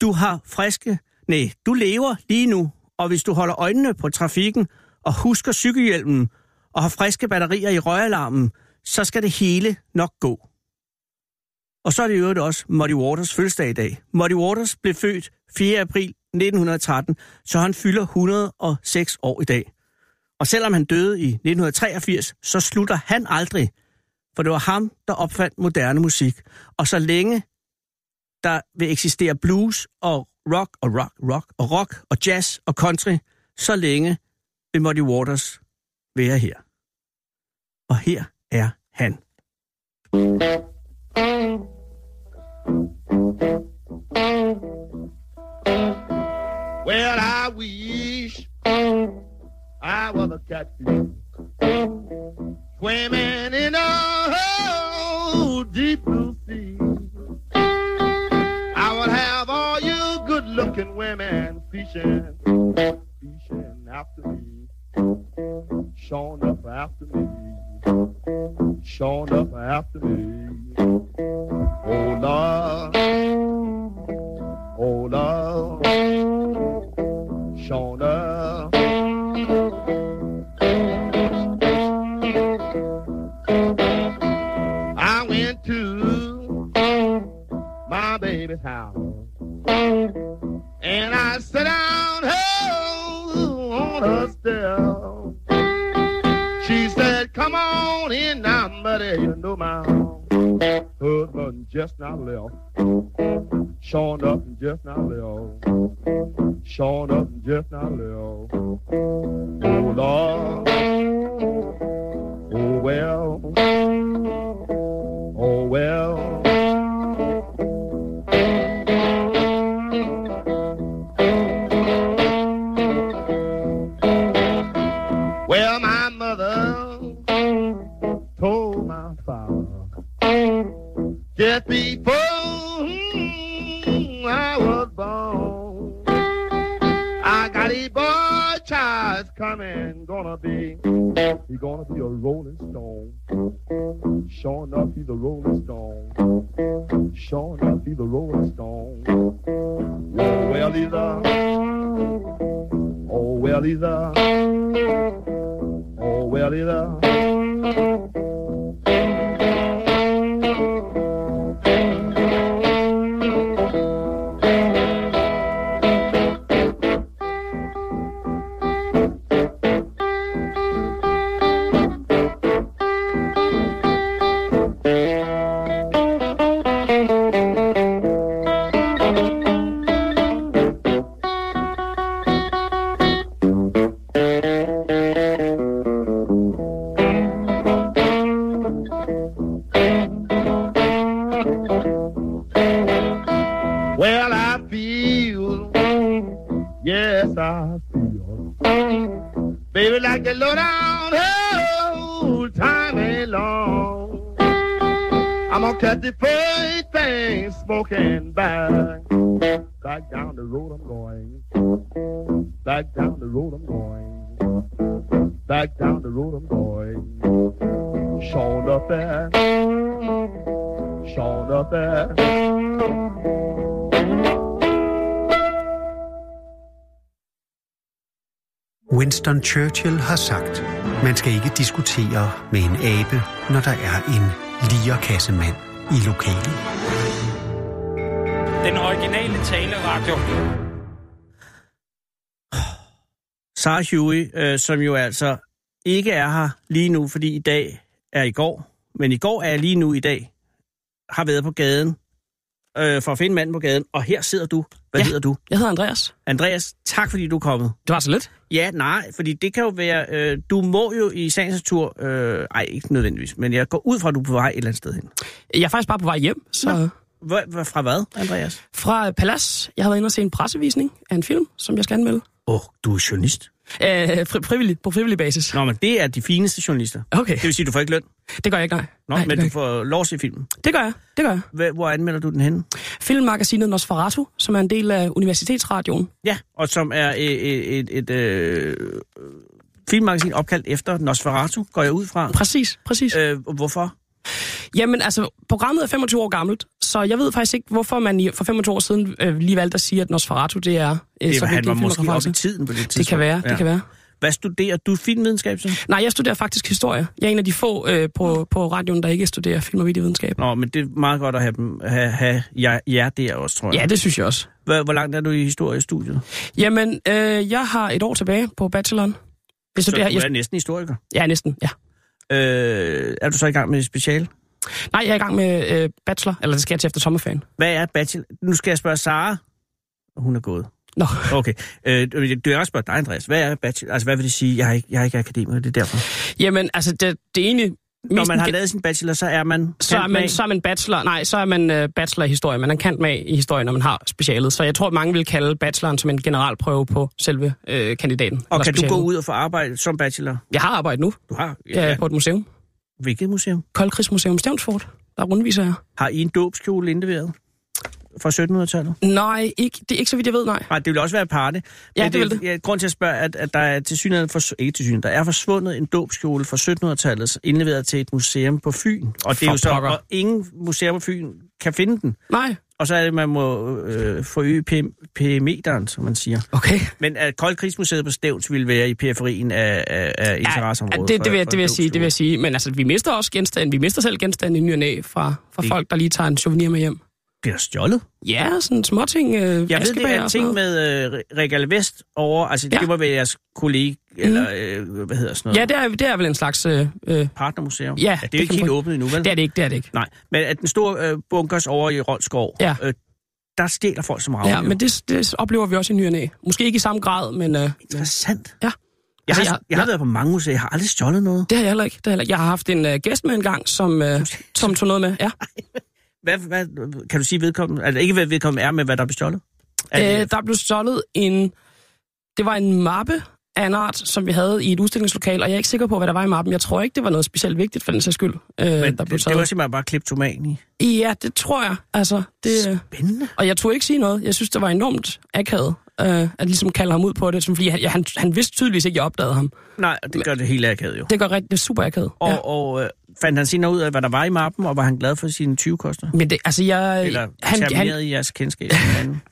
S3: Du har friske, nej, du lever lige nu, og hvis du holder øjnene på trafikken og husker cykelhjelmen og har friske batterier i røgalarmen, så skal det hele nok gå. Og så er det i øvrigt også Muddy Waters fødselsdag i dag. Muddy Waters blev født 4. april 1913, så han fylder 106 år i dag. Og selvom han døde i 1983, så slutter han aldrig, for det var ham, der opfandt moderne musik. Og så længe der vil eksistere blues og rock og rock, rock og rock og jazz og country, så længe vil Muddy Waters være her. Og her er han.
S5: Well, I wish I was a catfish swimming in a whole deep blue sea. I would have all you good-looking women fishing, fishing after me, showing up after me, showing up after me. Oh love, oh love. Shona. I went to my baby's house and I sat down oh, on her step. She said, Come on in now, buddy. You know my husband just now left. Showing up and just now left showing up and just not little. Oh Lord, oh well, oh well. Well, my mother told my father just before mm, I was born. I got a boy child's coming, gonna be. He gonna be a rolling stone. Sure enough, he's a rolling stone. Sure enough, he's a rolling stone. Oh, well, he's a. Oh, well, he's a. Oh, well, he's a. Well, I feel, yes, I feel, baby, like the low down old time ain't long. I'm gonna cut the first thing smoking back. Back down the road I'm going. Back down the road I'm going. Back down the road I'm going. Showing up there. Showing up there.
S1: Winston Churchill har sagt, man skal ikke diskutere med en abe, når der er en lierkassemand i lokalet.
S6: Den originale taleradio.
S3: Sarah Huey, øh, som jo altså ikke er her lige nu, fordi i dag er i går, men i går er lige nu i dag, har været på gaden øh, for at finde manden på gaden, og her sidder du. Hvad ja.
S7: Ja.
S3: hedder du?
S7: Jeg hedder Andreas.
S3: Andreas, tak fordi du er kommet.
S7: Det var så lidt.
S3: Ja, nej, fordi det kan jo være, øh, du må jo i sagens natur, øh, ej, ikke nødvendigvis, men jeg går ud fra, at du er på vej et eller andet sted hen.
S7: Jeg er faktisk bare på vej hjem, så... Nå.
S3: Hvor, hvor- fra hvad, Andreas?
S7: Fra øh, Palads. Jeg har været inde og se en pressevisning af en film, som jeg skal anmelde.
S3: Åh, oh, du er journalist.
S7: Øh, fri- frivillig, på frivillig basis.
S3: Nå, men det er de fineste journalister.
S7: Okay,
S3: Det vil sige, du får ikke løn.
S7: det gør jeg ikke, nej.
S3: Nå,
S7: nej
S3: men
S7: det,
S3: du
S7: gør
S3: får lov at se filmen.
S7: jeg ikke. det gør jeg, det gør jeg.
S3: Hvor, hvor anmelder du den henne?
S7: Filmmagasinet Nosferatu, som er en del af Universitetsradioen.
S3: Ja, og som er et, et, et, et øh, filmmagasin opkaldt efter Nosferatu, går jeg ud fra.
S7: Præcis, præcis. Øh.
S3: Øh, hvorfor?
S7: Jamen altså, programmet er 25 år gammelt, så jeg ved faktisk ikke, hvorfor man i, for 25 år siden øh, lige valgte at sige, at Nosferatu, det er... Øh,
S3: Det,
S7: så
S3: så han
S7: vigtig
S3: var
S7: en
S3: måske
S7: filmreference.
S3: oppe i tiden på det tidspunkt.
S7: Det kan være, ja. det kan være.
S3: Hvad studerer du? Filmvidenskab, så?
S7: Nej, jeg studerer faktisk historie. Jeg er en af de få øh, på, på radioen, der ikke studerer film- og videovidenskab.
S3: Nå, men det er meget godt at have, dem, have, have jer, jer der også, tror jeg.
S7: Ja, det synes jeg også.
S3: Hvor, hvor langt er du i historiestudiet?
S7: Jamen, øh, jeg har et år tilbage på bacheloren. Jeg
S3: Så du
S7: studerer,
S3: er
S7: jeg,
S3: næsten historiker.
S7: ja, næsten, ja.
S3: Øh, er du så i gang med et speciale?
S7: Nej, jeg er i gang med øh, bachelor, eller det skal jeg til efter sommerferien.
S3: Hvad er bachelor? Nu skal jeg spørge Sara. Hun er gået.
S7: Nå.
S3: Okay. Øh, du er også spørge dig, Andreas. Hvad er bachelor? Altså, hvad vil det sige? Jeg er ikke, jeg er ikke akademiker, det er derfor.
S7: Jamen, altså, det, det ene...
S3: Når man har lavet sin bachelor, så er man...
S7: så er, man,
S3: kantmag.
S7: så er man bachelor, nej, så er man øh, bachelor i historie. Man er kant med i historie, når man har specialet. Så jeg tror, at mange vil kalde bacheloren som en generalprøve på selve øh, kandidaten.
S3: Og
S7: eller
S3: kan du
S7: specialet.
S3: gå ud og få arbejde som bachelor?
S7: Jeg har arbejdet nu
S3: Du har?
S7: ja. øh, på et museum.
S3: Hvilket museum?
S7: Koldkrigsmuseum Stævnsfort. Der rundviser jeg.
S3: Har I en dåbskjole indleveret? Fra 1700-tallet?
S7: Nej, ikke, det er ikke så vidt, jeg ved, nej.
S3: Nej, det vil også være parte.
S7: Ja,
S3: Men
S7: det vil det.
S3: Ja, grund til at spørge, at, at der er til synligheden for, ikke til synligheden, der er forsvundet en dåbskjole fra 1700-tallet, indleveret til et museum på Fyn. Og det er
S7: For
S3: jo så,
S7: pokker.
S3: og ingen museum på Fyn kan finde den.
S7: Nej.
S3: Og så er det, man må øh, forøge PM'eren, som man siger.
S7: Okay.
S3: Men at Koldkrigsmuseet på Stævns ville være i periferien af, af, af interesseområdet.
S7: Ja, det,
S3: for-
S7: det, vil,
S3: for
S7: jeg- det vil jeg sige, det vil
S3: dåbskjole.
S7: jeg sige. Men altså, vi mister også genstande. Vi mister selv genstande i ny og næ fra, fra
S3: Det-
S7: folk, der lige tager en souvenir med hjem.
S3: Bliver stjålet?
S7: Ja, sådan småting. Øh,
S3: Jeg ved, det
S7: askebæger
S3: er
S7: og sådan
S3: en ting
S7: noget.
S3: med øh, Regal Vest over, altså ja.
S7: Ja. Mhm.
S3: det må være jeres kollega, eller øh, hvad hedder sådan noget,
S7: Ja, det er, det er vel en slags... Øh, øh,
S3: partnermuseum.
S7: Ja,
S3: det er
S7: det
S3: jo ikke
S7: kan
S3: helt
S7: man-
S3: åbnet endnu, vel?
S7: det er det ikke, det er det ikke.
S3: Nej, men at den store øh, bunkers over i Rolskov,
S7: Ja.
S3: øh, der stjæler folk som rav.
S7: Ja, men det, det oplever vi også i ny og næ. Måske ikke i samme grad, men øh,
S3: Interessant.
S7: Ja.
S3: Jeg har,
S7: Altså,
S3: jeg,
S7: jeg-
S3: jeg har været på mange museer, jeg har aldrig stjålet noget.
S7: det har jeg heller ikke. Det har jeg, heller ikke. jeg har haft en øh, gæst med en gang, som, øh, som tog noget med. Ja.
S3: Hvad, hvad, kan du sige vedkommende? Altså ikke hvad vedkommende er, men hvad der er bestjålet? Er
S7: Øh,
S3: det-
S7: der blev stjålet en... Det var en mappe af en art, som vi havde i et udstillingslokal, og jeg er ikke sikker på, hvad der var i mappen. Jeg tror ikke, det var noget specielt vigtigt for den sags skyld, øh,
S3: men
S7: der blev
S3: det, det var
S7: taget.
S3: simpelthen bare kleptoman i.
S7: Ja, det tror jeg. Altså, det, øh,
S3: Spændende.
S7: og jeg turde ikke sige noget. Jeg synes, det var enormt akavet, øh, at ligesom kalde ham ud på det, som fordi han, ja, han, han vidste tydeligvis ikke, jeg opdagede ham.
S3: Nej, og det gør det hele akavet jo.
S7: Det gør rigtig, det er super akavet.
S3: Og,
S7: ja.
S3: og øh, fandt han senere ud af, hvad der var i mappen, og var han glad for sine 20 koster?
S7: Men det, altså, jeg,
S3: Eller
S7: han, han,
S3: termineret i jeres kendskab til hinanden?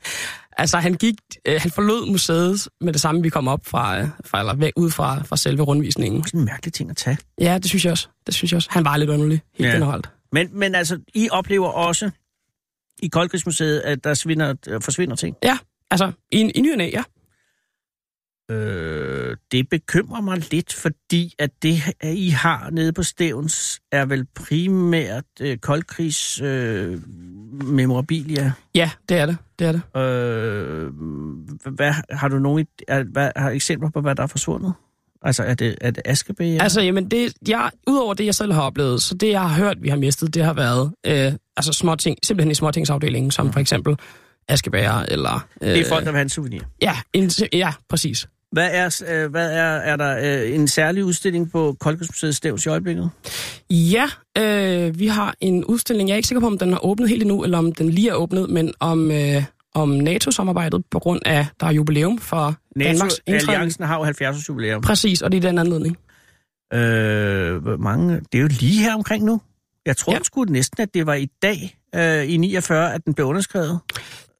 S7: Altså, han, gik, øh, han forlod museet med det samme, vi kom op fra, øh, fra eller væk, ud fra, fra selve rundvisningen.
S3: Sådan en mærkelig ting at tage.
S7: Ja, det synes jeg også. Det synes jeg også. Han var lidt underlig,
S3: Ja.
S7: helt ja. generelt.
S3: Men, men altså, I oplever også i Koldkrigsmuseet, at der svinder, øh, forsvinder ting.
S7: Ja, altså, i, i ny og næ, ja.
S3: Øh, det bekymrer mig lidt, fordi at det, at I har nede på Stævns, er vel primært øh, koldkrigs øh, memorabilia.
S7: Ja, det er det. Det er det.
S3: Øh, hvad, har du nogen id- er, hvad, har eksempler på, hvad der er forsvundet? Altså, er det, er det Askebæger?
S7: Ja. Altså, jamen, det, jeg, udover det, jeg selv har oplevet, så det, jeg har hørt, vi har mistet, det har været øh, altså småting, simpelthen i småtingsafdelingen, som for eksempel askebæger, eller... Øh,
S3: Mm. det er folk, der vil have en souvenir.
S7: Ja, en, ja, præcis.
S3: Hvad er, øh, hvad er, er der øh, en særlig udstilling på Koldkrigsmuseet Stævns i øjeblikket?
S7: Ja, øh, vi har en udstilling. Jeg er ikke sikker på, om den har åbnet helt endnu, eller om den lige er åbnet, men om, øh, om NATO-samarbejdet på grund af, der er jubilæum for Danmarks indtræden.
S3: NATO-alliancen har jo 70 års jubilæum.
S7: Præcis, og det er den anledning.
S3: Øh, hvor mange, det er jo lige her omkring nu. Jeg tror ja.
S7: Ja.
S3: sgu næsten, at det var i dag øh, i 49, at den blev underskrevet.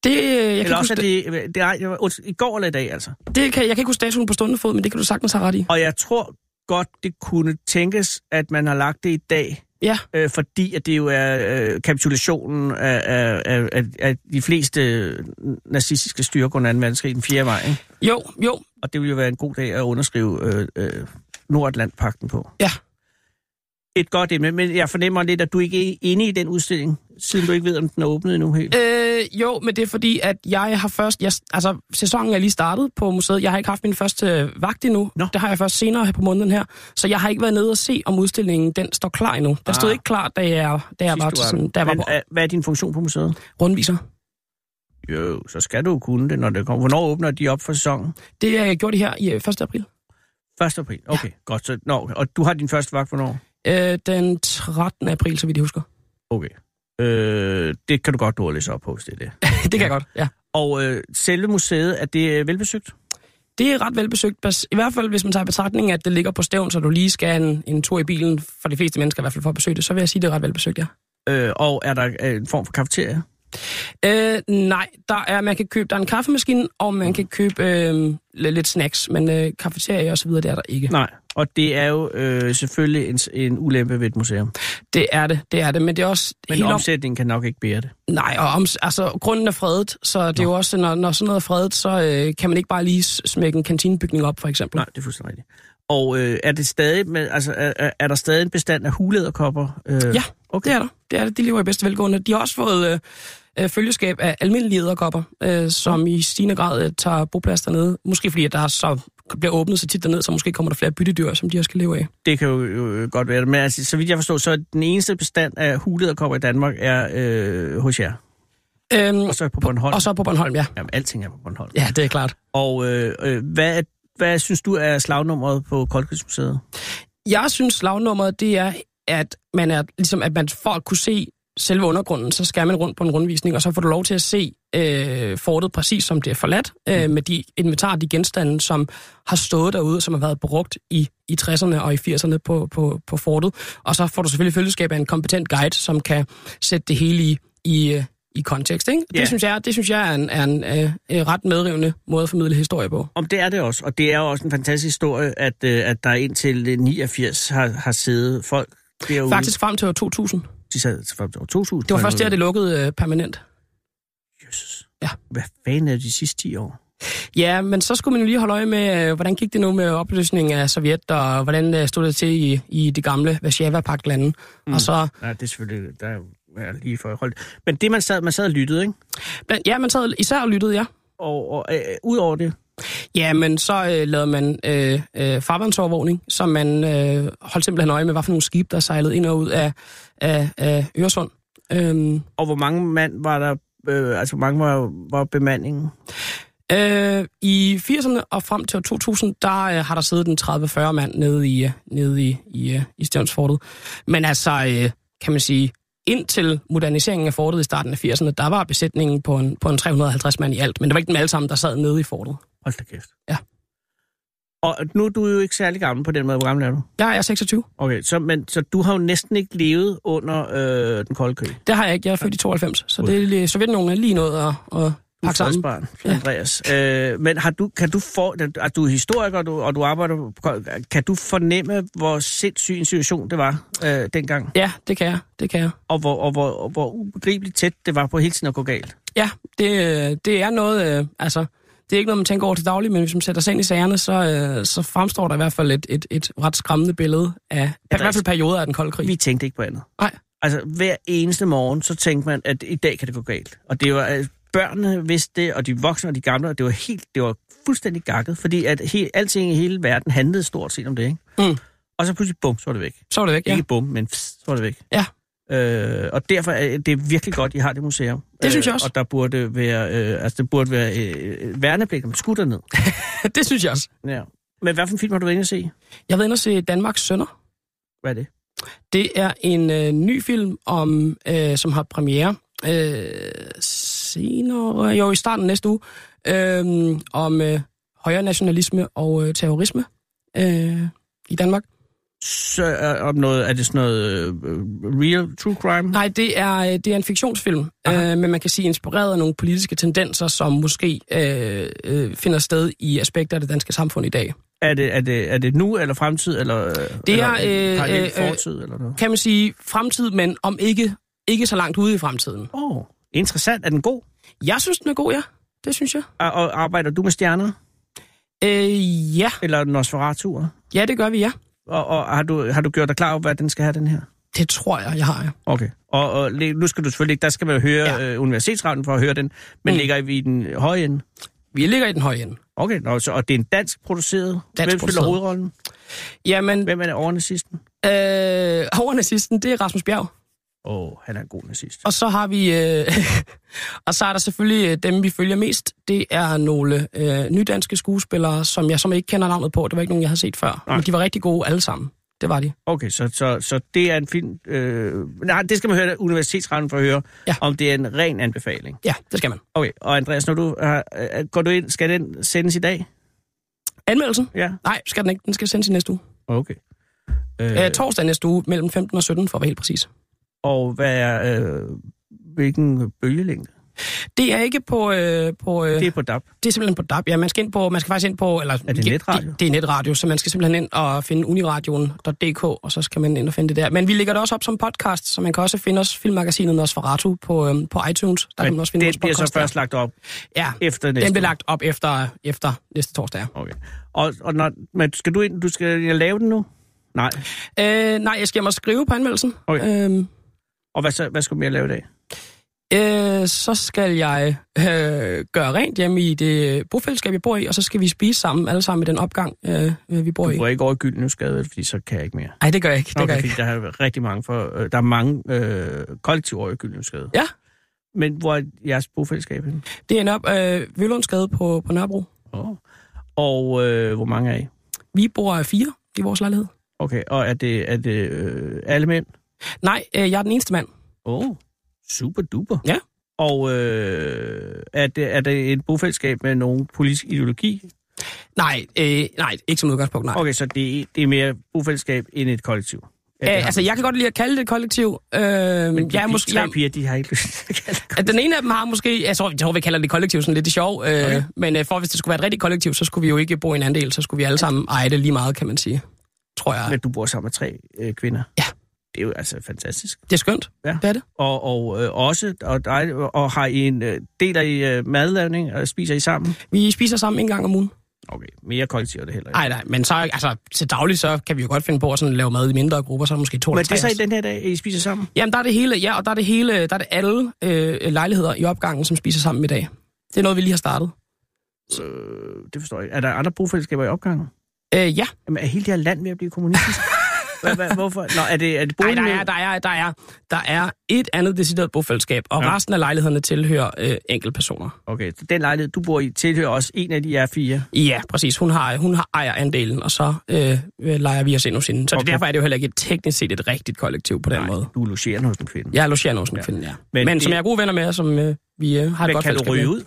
S7: Det, øh, jeg, kan
S3: Jeg
S7: ikke
S3: eller også,
S7: huske,
S3: at
S7: det,
S3: det, det, det, er, det var unds- i går eller i dag, altså.
S7: det kan, jeg kan ikke huske datoen på stående fod, men det kan du sagtens have ret i.
S3: Og jeg tror godt, det kunne tænkes, at man har lagt det i dag,
S7: Ja,
S3: øh, fordi at det jo er øh, kapitulationen af, af, af, af, af de fleste nazistiske styrer under 2. verdenskrig den 4. maj. ikke?
S7: jo, jo,
S3: Og det ville jo være en god dag at underskrive øh, øh, Nordatlantpakten på.
S7: ja.
S3: et godt emne, men jeg fornemmer lidt, at du ikke er inde i den udstilling, siden du ikke ved, om den er åbnet endnu helt.
S7: Øh, jo, men det er fordi, at jeg har først... Jeg, altså, sæsonen er lige startet på museet. Jeg har ikke haft min første øh, vagt endnu.
S3: Nå.
S7: Det har jeg først senere her på måneden her. Så jeg har ikke været nede og se, om udstillingen den står klar endnu. Den ah. stod
S3: Ah.
S7: ikke klar, da jeg, da jeg,
S3: Sidst
S7: var,
S3: du
S7: til
S3: var
S7: sådan,
S3: der.
S7: da jeg var
S3: men, øh,
S7: på
S3: er- hvad er din funktion på museet?
S7: rundviser.
S3: Jo, så skal du jo kunne det, når det kommer. Hvornår åbner de op for sæsonen?
S7: Det har jeg gjort det her i øh, 1. april.
S3: 1. april. Okay, ja. godt. Så, nå, og du har din første vagt, hvornår?
S7: Øh, den 13. april, så vidt jeg husker.
S3: Okay. Øh, det kan du godt nå at læse op på, hvis det er det.
S7: det kan jeg godt, ja.
S3: Og øh, selve museet, er det øh, velbesøgt?
S7: Det er ret velbesøgt, bas- i hvert fald hvis man tager i betragtning, at det ligger på stævn, så du lige skal en, en tur i bilen, for de fleste mennesker i hvert fald for at besøge det, så vil jeg sige, at det er ret velbesøgt, ja.
S3: Øh, og er der øh, en form for kafeterie?
S7: Øh, nej, der er, man kan købe, der er en kaffemaskine, og man kan købe øh, lidt lidt snacks, men øh, kafeterie og så videre, det er der ikke.
S3: Nej. Og det er jo øh, selvfølgelig en, en ulempe ved et museum.
S7: Det er det, det er det, men det er også
S3: Men
S7: helt om...
S3: omsætningen kan nok ikke bære det.
S7: Nej, og om, altså, grunden er fredet, så det er jo også, når, når sådan noget er fredet, så øh, kan man ikke bare lige s- smække en kantinebygning op, for eksempel.
S3: Nej, det er fuldstændig rigtigt. Og øh, er, det stadig, men, altså, er, er- er der stadig en bestand af hulæderkopper? Øh,
S7: Ja, okay. det er der. Det er det. De lever i bedste velgående. De har også fået øh, øh, følgeskab af almindelige æderkopper, øh, som i stigende grad øh, tager boplads dernede. Måske fordi, at der er så bliver åbnet så tit dernede, så måske kommer der flere byttedyr, som de også skal leve af.
S3: Det kan jo, jo godt være det. Men altså, så vidt jeg forstår, så er den eneste bestand af hulederkopper i Danmark er øh, hos jer.
S7: Øhm,
S3: Og så er på Bornholm.
S7: og så på Bornholm, ja.
S3: Jamen, alting er på Bornholm.
S7: Ja, det er klart.
S3: Og øh, øh, hvad, er- hvad synes du er slagnummeret på Koldkrigsmuseet?
S7: Jeg synes, slagnummeret, det er, at man er, ligesom, at man for at kunne se selve undergrunden, så skal man rundt på en rundvisning, og så får du lov til at se øh, fortet præcis, som det er forladt, øh, med de inventar, de genstande, som har stået derude, og som har været brugt i, i 60'erne og i 80'erne på, på, på fortet. Og så får du selvfølgelig følgeskab af en kompetent guide, som kan sætte det hele i, i, øh, i kontekst. Ikke?
S3: Ja.
S7: Det, synes jeg, det synes jeg er en, er en øh, øh, ret medrivende måde at formidle historie på.
S3: Om det er det også, og det er jo også en fantastisk historie, at, øh, at der indtil øh, 89 har, har siddet folk derude.
S7: Faktisk frem til år 2000.
S3: De sad til frem til år 2000.
S7: Det var
S3: på en
S7: først der,
S3: måde.
S7: det lukkede øh, permanent.
S3: Jesus.
S7: Ja.
S3: Hvad fanden er de sidste 10 år?
S7: Ja, men så skulle man jo lige holde øje med, øh, hvordan gik det nu med opløsningen af Sovjet, og hvordan øh, stod det til i, i de gamle varsjava lande mm. Og så,
S3: Nej, det er selvfølgelig... Der er jo- er lige for holdt. Men det, man sad, man sad og lyttede, ikke?
S7: blandt- ja, man sad især og lyttede, ja.
S3: Og, og øh, ud over det,
S7: Ja, men så øh, lavede man øh, øh, farvandsovervågning, så man øh, holdt simpelthen øje med, hvad for nogle skibe, der sejlede ind og ud af, af, af Øresund. Øhm,
S3: og hvor mange mand var der... Øh, altså, hvor mange var, var bemandingen?
S7: øh, I 80'erne og frem til år 2000, der øh, har der siddet en 30-40 mand nede i, øh, nede i, i, øh, i Stjørnsfortet. Men altså, øh, kan man sige, indtil moderniseringen af fortet i starten af 80'erne, der var besætningen på en, på en 350 mand i alt, men det var ikke dem alle sammen, der sad nede i fortet.
S3: Hold da kæft.
S7: Ja.
S3: Og nu er du jo ikke særlig gammel på den måde. Hvor gammel er du?
S7: Jeg er 26.
S3: Okay, så, men, så du har jo næsten ikke levet under øh, den kolde krig. Du
S7: Det har jeg ikke. Jeg er født i 92, så det er lige, Sovjetunionen er lige nået at, at
S3: er
S7: pakke sammen.
S3: fredsbarn, Andreas. Øh, men har du, kan du for, at du er historiker, og du, og du arbejder på, Kold- kan du fornemme, hvor sindssyg en situation det var øh, dengang?
S7: Ja, det kan jeg. Det kan jeg.
S3: Og hvor, og, hvor, og hvor ubegribeligt tæt det var på hele tiden at gå galt?
S7: Ja, det, øh, det er noget, øh, altså, det er ikke noget, man tænker over til daglig, men hvis man sætter sig ind i sagerne, så, øh, så fremstår der i hvert fald et, et, et ret skræmmende billede af, i hvert fald perioder af den kolde krig.
S3: Vi tænkte ikke på andet.
S7: Nej.
S3: Altså, hver eneste morgen, så tænkte man, at i dag kan det gå galt. Og det var, at børnene vidste det, og de voksne og de gamle, og det var helt, det var fuldstændig gakket, fordi at he, alting i hele verden handlede stort set om det, ikke?
S7: Mm.
S3: Og så pludselig, bum, så var det væk.
S7: Så er det væk,
S3: Ja.
S7: ja.
S3: Ikke bum, men pss, så var det væk.
S7: Ja.
S3: Øh, og derfor er det virkelig godt, I har det museum.
S7: Det synes jeg også.
S3: Øh, og der burde være, øh, altså, det burde være øh, værnepligt, om skutter ned.
S7: det synes jeg også.
S3: Ja. Men hvad for en film har du været inde at se?
S7: Jeg ved inde og se Danmarks Sønder.
S3: Hvad er det?
S7: Det er en øh, ny film, om, øh, som har premiere øh, senere, jo i starten af næste uge, øh, om øh, højre nationalisme og øh, terrorisme øh, i Danmark.
S3: Så, øh, om noget, er det sådan noget øh, real true crime?
S7: Nej, det er, øh, det er en fiktionsfilm, øh, men man kan sige inspireret af nogle politiske tendenser, som måske øh, øh, finder sted i aspekter af det danske samfund i dag.
S3: Er det, er det, er det nu eller fremtid, eller, eller
S7: er,
S3: en
S7: øh,
S3: parallel
S7: øh, øh,
S3: fortid, eller noget?
S7: Kan man sige fremtid, men om ikke, ikke så langt ude i fremtiden.
S3: Åh, oh, interessant. Er den god?
S7: Jeg synes, den er god, ja. Det synes jeg.
S3: Og, og arbejder du med stjerner?
S7: Øh, ja.
S3: Eller Nosferatu'er?
S7: ja, det gør vi, ja.
S3: Og, og har, du, har du gjort dig klar over, hvad den skal have, den her?
S7: Det tror jeg, jeg har, ja.
S3: Okay. Og, og læ- nu skal du selvfølgelig ikke, der skal man jo høre ja.
S7: Ja.
S3: øh, universitetsretten for at høre den, men mm.
S7: Mm.
S3: ligger vi i den høje ende?
S7: Vi ligger i den høje ende.
S3: Okay, nå, så, og det er en dansk produceret.
S7: Dansk
S3: Hvem spiller
S7: produceret.
S3: hovedrollen?
S7: Jamen,
S3: Hvem er det over nazisten?
S7: øh, hovernazisten, det er Rasmus Bjerg.
S3: Åh, oh, han er en god nazist.
S7: Og så har vi... Øh, og så er der selvfølgelig øh, dem, vi følger mest. Det er nogle øh, nydanske skuespillere, som jeg som ikke kender navnet på. Det var ikke nogen, jeg havde set før.
S3: Nej.
S7: Nej. Men de var rigtig gode alle sammen. Det var de.
S3: Okay, så, så, så det er en film... Øh, nej, det skal man høre universitetsretten for at høre, ja.
S7: Ja.
S3: om det er en ren anbefaling.
S7: Ja, det skal man.
S3: Okay, og Andreas, når du har, øh, går du ind, skal den sendes i dag?
S7: Anmeldelsen?
S3: Ja.
S7: Nej, skal den ikke. Den skal sendes i næste uge.
S3: Okay.
S7: Øh.
S3: Øh,
S7: Æ, torsdag næste uge, mellem 15 og 17, for at være helt præcis.
S3: og hvad er, øh, hvilken bølgelængde?
S7: Det er ikke på... Øh, på øh,
S3: Det er
S7: det...
S3: på DAB.
S7: det er simpelthen på DAB. Ja, man skal, ind på, man skal faktisk ind på... Eller,
S3: Er det netradio?
S7: Det, det er netradio, så man skal simpelthen ind og finde uniradioen.dk, og så skal man ind og finde det der. Men vi lægger det også op som podcast, så man kan også finde os, filmmagasinet Nosferatu på, øhm, på iTunes. Der kan man også finde
S3: den
S7: vores
S3: bliver
S7: podcast.
S3: så først
S7: der.
S3: lagt op
S7: Ja,
S3: efter næste
S7: den bliver
S3: uge.
S7: lagt op efter, efter næste torsdag.
S3: Okay. Og, og når, men skal du ind, du skal ind og lave den nu? Nej.
S7: Øh, nej, jeg skal hjem og skrive på anmeldelsen.
S3: Okay.
S7: Øhm,
S3: Og hvad, så, hvad skal du mere lave i dag?
S7: øh, så skal jeg øh, gøre rent hjemme i det bofællesskab, jeg bor i, og så skal vi spise sammen, alle sammen i den opgang, øh, øh, vi bor
S3: Du
S7: i.
S3: må ikke over i Gyldenøvsgade, fordi så kan jeg ikke mere.
S7: Nej, det gør jeg ikke. Det gør jeg
S3: Okay,
S7: ikke.
S3: fordi der er rigtig mange, for, øh, der er mange øh, kollektiver over i Gyldenøvsgade.
S7: Ja.
S3: Men hvor er jeres bofællesskab henne?
S7: Det er op øh, Vølundsgade på, på Nørrebro.
S3: Oh. Og øh, hvor mange er I?
S7: Vi bor fire i vores lejlighed.
S3: Okay, og er det, er det øh, alle mænd?
S7: Nej, øh, jeg er den eneste mand.
S3: Åh, oh, super duper.
S7: Ja.
S3: Og øh, er, det, er det et bofællesskab med nogen politisk ideologi?
S7: Nej, øh, nej, ikke som udgangspunkt, nej.
S3: Okay, så det, det er mere bofællesskab end et kollektiv? Ja, det
S7: Æ,
S3: har
S7: altså,
S3: man.
S7: jeg kan godt lide at kalde det et kollektiv. Øh,
S3: Men de,
S7: jeg er
S3: måske,
S7: måske,
S3: tre
S7: jeg,
S3: piger, de har ikke lyst til at kalde det
S7: at den ene af dem har måske... Jeg tror, jeg tror vi kalder det et kollektiv sådan lidt i sjov. Øh, okay. Men øh, for hvis det skulle være et rigtigt kollektiv, så skulle vi jo ikke bo i en andel. Så skulle vi alle sammen eje det lige meget, kan man sige. Tror jeg.
S3: Men du bor sammen med tre øh, kvinder.
S7: Ja.
S3: Det er jo altså fantastisk.
S7: Det er skønt.
S3: Ja.
S7: Det er det.
S3: Og, og øh, også, og, dig, og har I en, øh, deler I øh, madlavning, og spiser I sammen?
S7: Vi spiser sammen en gang om ugen.
S3: Okay, mere kollektiv er det heller ikke.
S7: Nej, nej, men så, altså, til daglig så kan vi jo godt finde på at sådan lave mad i mindre grupper, så er der måske to
S3: Men
S7: eller
S3: det er
S7: tre.
S3: så
S7: af
S3: i
S7: os.
S3: den her dag, at I spiser sammen?
S7: Jamen, der er det hele, ja, og der er det hele, der er det alle øh, lejligheder i opgangen, som spiser sammen i dag. Det er noget, vi lige har startet.
S3: Øh, det forstår jeg ikke. Er der andre brugfællesskaber i opgangen?
S7: Øh, ja,
S3: Jamen, er hele det her land ved at blive kommunistisk? Hvad, hvad, hvorfor? Nå, er det, er det
S7: Nej,
S3: boligen?
S7: der er, der, er, der, er, der er et andet decideret bofællesskab, og
S3: Ja.
S7: ja. resten af lejlighederne tilhører øh, enkeltpersoner.
S3: Okay, så den lejlighed, du bor i, tilhører også en af de her fire.
S7: Ja, præcis. Hun har, hun har ejer andelen, og så øh, øh, leger vi os ind hos hende. Så
S3: Okay.
S7: okay. derfor er det jo heller ikke et teknisk set et rigtigt kollektiv på den Nej. måde.
S3: du logerer hos en kvinde.
S7: Jeg er logerende hos en ja. kvinde, ja.
S3: Men
S7: Men, Men
S3: det-
S7: det... som jeg er gode venner med, som øh, vi øh, har et
S3: Men
S7: godt
S3: kan du
S7: fællesskab
S3: ryge
S7: med.
S3: ud?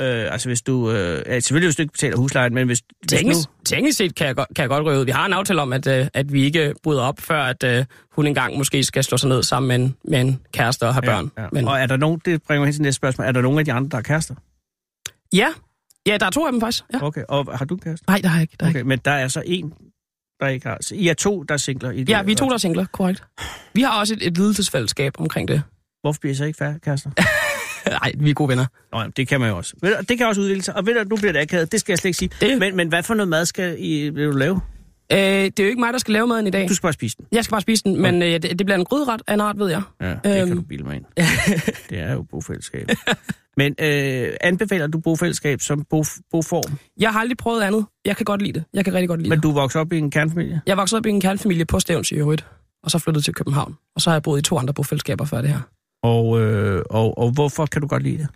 S3: Øh, altså, hvis du... Øh, ja, selvfølgelig, hvis du ikke betaler huslejen, men hvis, hvis nu...
S7: Teknisk, teknisk set kan jeg, godt, kan jeg godt ryge ud. Vi har en aftale om, at, øh, at vi ikke bryder op, før at øh, hun engang måske skal slå sig ned sammen med en, med en kæreste og have børn.
S3: Ja, ja.
S7: Men,
S3: Og er der nogen, det bringer mig hen til næste spørgsmål, er der nogen af de andre, der er kærester?
S7: ja. ja, der er to af dem faktisk. Ja.
S3: Okay, og har du en kæreste?
S7: Nej, der har jeg ikke. Der er
S3: Okay, men der er så en, der ikke har... Så I er to, der er singler i det
S7: Ja, vi er to, der er singler, korrekt. Vi har også et, et lidelsesfællesskab omkring det.
S3: Hvorfor bliver I så ikke færre kærester?
S7: Nej, vi er gode venner.
S3: Nå, jamen, det kan man jo også. Ved du, Det kan også udvikle sig. Og ved du, nu bliver det akavet, det skal jeg slet ikke sige.
S7: Det-
S3: Men, men hvad for noget mad skal I vil du lave?
S7: Øh, det er jo ikke mig, der skal lave maden i dag.
S3: Du skal bare spise den.
S7: Jeg skal bare spise den, men øh, det, det bliver en gryderet af en art, ved jeg.
S3: Ja, det kan
S7: Øhm.
S3: du bilde mig ind. Det er jo bofællesskab. Men øh, anbefaler du bofællesskab som bo, boform?
S7: Jeg har aldrig prøvet andet. Jeg kan godt lide det. Jeg kan rigtig godt lide
S3: Men
S7: det.
S3: du voksede op i en kernfamilie?
S7: Jeg voksede op i en kernfamilie på Stævns i øvrigt, og så flyttede til København. Og så har jeg boet i to andre bofællesskaber før det her.
S3: Og, øh, og, og hvorfor kan du godt lide det?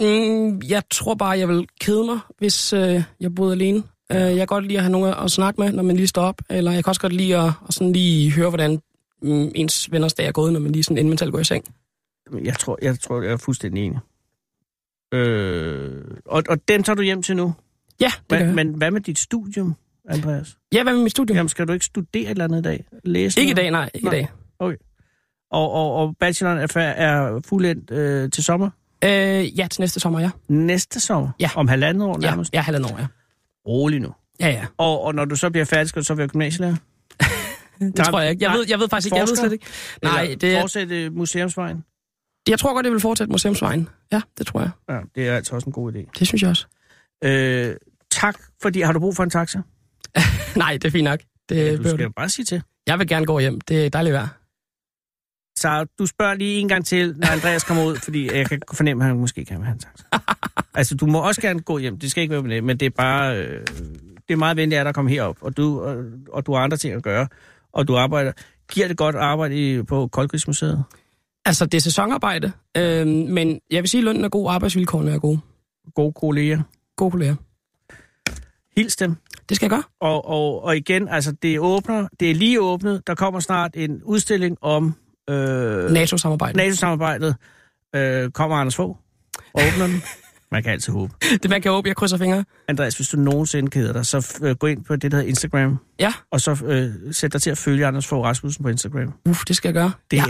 S7: Mm, jeg tror bare, jeg vil kede mig, hvis øh, jeg boede alene. Øh, jeg kan godt lide at have nogen at snakke med, når man lige står op. Eller jeg kan også godt lide at, at sådan lige høre, hvordan mm, ens venners dag er gået, når man lige sådan inden man selv går i seng.
S3: Jamen, Jeg tror, jeg, tror, jeg er fuldstændig enig. Øh, og, og den tager du hjem til nu?
S7: Ja, det gør
S3: Men,
S7: jeg.
S3: men hvad med dit studium, Andreas?
S7: Ja, hvad med mit studium?
S3: Jamen, skal du ikke studere et eller andet i dag? Læse
S7: Ikke i
S3: noget?
S7: dag, nej. Ikke
S3: Nej.
S7: i dag.
S3: Og, og, og bacheloren er, fær- er fuldendt øh, til sommer?
S7: Øh, ja, til næste sommer, ja.
S3: Næste sommer?
S7: Ja.
S3: Om halvandet år
S7: Ja,
S3: nærmest?
S7: ja halvandet år, ja.
S3: Rolig nu.
S7: Ja, ja.
S3: Og, og når du så bliver færdig, skal du så være gymnasielærer?
S7: Det tror jeg ikke. Jeg ved, jeg ved faktisk ikke. Jeg ved
S3: Forsker?
S7: slet ikke. Nej, det, er-
S3: Fortsætte øh, museumsvejen?
S7: jeg tror godt, jeg vil fortsætte museumsvejen. Ja, det tror jeg.
S3: Ja, det er altså også en god idé.
S7: Det synes jeg også.
S3: Øh, tak, fordi har du brug for en taxa?
S7: Nej, det er fint nok. Det,
S3: Ja,
S7: ja,
S3: du skal jo bare sige til.
S7: Jeg vil gerne gå hjem. Det er dejligt vejr.
S3: Så du spørger lige en gang til, når Andreas kommer ud, fordi jeg kan fornemme, at han måske kan have en taxa. Altså, du må også gerne gå hjem. Det skal ikke være med det, men det er bare... Øh, det er meget venligt af dig at komme herop, og du, og, og du har andre ting at gøre, og du arbejder... Giver det godt arbejde i, på Koldkrigsmuseet?
S7: Altså, det er sæsonarbejde, øh, men jeg vil sige, at lønnen er god, og arbejdsvilkårene er gode.
S3: Gode kolleger.
S7: Gode kolleger.
S3: Hils dem.
S7: Det skal jeg gøre.
S3: Og, og, og igen, altså, det åbner, det er lige åbnet. Der kommer snart en udstilling om øh,
S7: NATO-samarbejde.
S3: NATO-samarbejdet. Øh, kommer Anders Fogh og åbner den. Man kan altid håbe.
S7: Det man kan håbe, jeg krydser fingre.
S3: Andreas, hvis du nogensinde keder dig, så øh, gå ind på det, der hedder Instagram,
S7: Ja,
S3: og så øh, sæt dig til at følge Anders Fogh Rasmussen på Instagram.
S7: uff, det skal jeg gøre.
S3: Det
S7: jeg,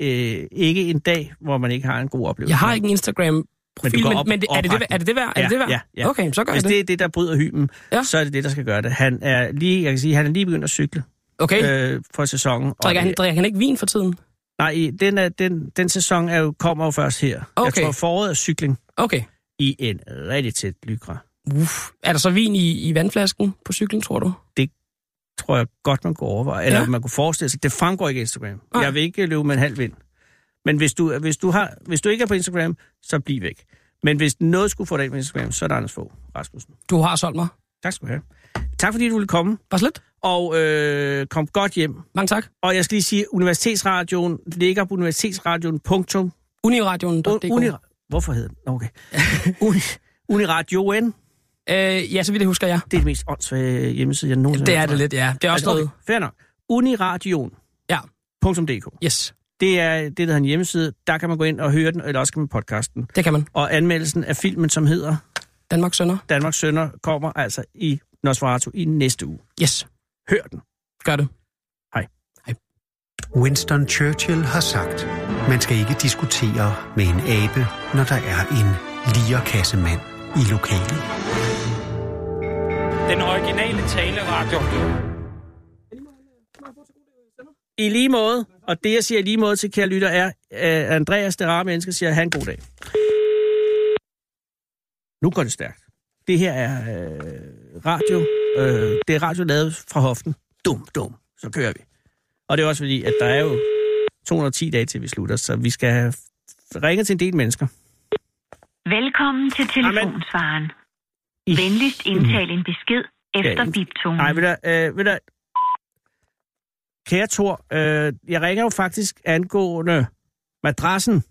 S3: ja. er øh, ikke en dag, hvor man ikke har en god oplevelse.
S7: jeg har ikke en
S3: Men du
S7: Instagram-profil,
S3: går
S7: men,
S3: op-
S7: men, det, er, det det, værd? er det det værd? Er
S3: Ja,
S7: det det værd?
S3: ja, ja.
S7: Okay, så gør
S3: Hvis
S7: jeg det.
S3: det er det, der bryder hymen, ja.
S7: Ja.
S3: så er det det, der skal gøre det. Han er lige, jeg kan sige, han er lige begyndt at cykle
S7: Okay,
S3: øh, for sæsonen. og
S7: drikker, han,
S3: det-
S7: drikker han ikke vin for tiden?
S3: Nej, den, er, den, den sæson er jo, kommer jo først her. Jeg
S7: Okay.
S3: tror, foråret er cykling
S7: Okay.
S3: i en rigtig tæt lykra.
S7: Uff. Er der så vin i, i vandflasken på cyklen, tror du?
S3: Tror jeg godt, man kunne overveje. Eller
S7: Ja.
S3: man kunne forestille sig. Det fremgår ikke af Instagram.
S7: Nej.
S3: Jeg vil ikke løbe med en halv vind. Men hvis du, hvis, du har, hvis du ikke er på Instagram, så bliv væk. Men hvis noget skulle få dig ind på Instagram, så er det Anders Fogh Rasmussen.
S7: Du har solgt mig.
S3: Tak skal du have. Tak fordi du ville komme,
S7: Bare slet.
S3: og øh, kom godt hjem.
S7: Mange tak.
S3: Og jeg skal lige sige, Universitetsradioen ligger på universitetsradioen.dk.
S7: Uniradioen.dk.
S3: Uni... Hvorfor hedder den? Nå, Okay. Uni... Uniradioen,
S7: Øh, ja, så vidt jeg husker, ja.
S3: det er det mest åndssvage hjemmeside, jeg nogensinde
S7: Det er
S3: har
S7: det
S3: haft.
S7: lidt, ja. Det er også
S3: Altså,
S7: noget...
S3: okay, fair nok. Uniradioen.
S7: Ja.
S3: .dk.
S7: Yes,
S3: Det er det, der hedder en hjemmeside. Der kan man gå ind og høre den, eller også kan man podcasten.
S7: det kan man.
S3: Og anmeldelsen af filmen, som hedder
S7: Danmarks sønder.
S3: Danmarks Sønder, kommer altså i Nosferatu i næste uge.
S7: Yes,
S3: Hør den.
S7: gør det.
S1: Winston Churchill har sagt, man skal ikke diskutere med en abe, når der er en lierkassemand i lokalet.
S6: Den originale taleradio.
S3: I lige måde, og det jeg siger i lige måde til kære lytter er, at Andreas, det rare menneske, siger, han en god dag. Nu går det stærkt. Det her er øh, radio. Øh, det er radio lavet fra hoften. Dum, dum. Så kører vi. Og det er også fordi, at der er jo 210 dage til vi slutter, så vi skal have ringet til en del mennesker.
S8: Velkommen til telefonsvaren.
S3: I-
S8: Venligst indtal en besked efter
S3: Mm. Ja, en-
S8: biptonen.
S3: Nej, ved du, øh, ved du, kære Thor, øh, jeg ringer jo faktisk angående madrassen.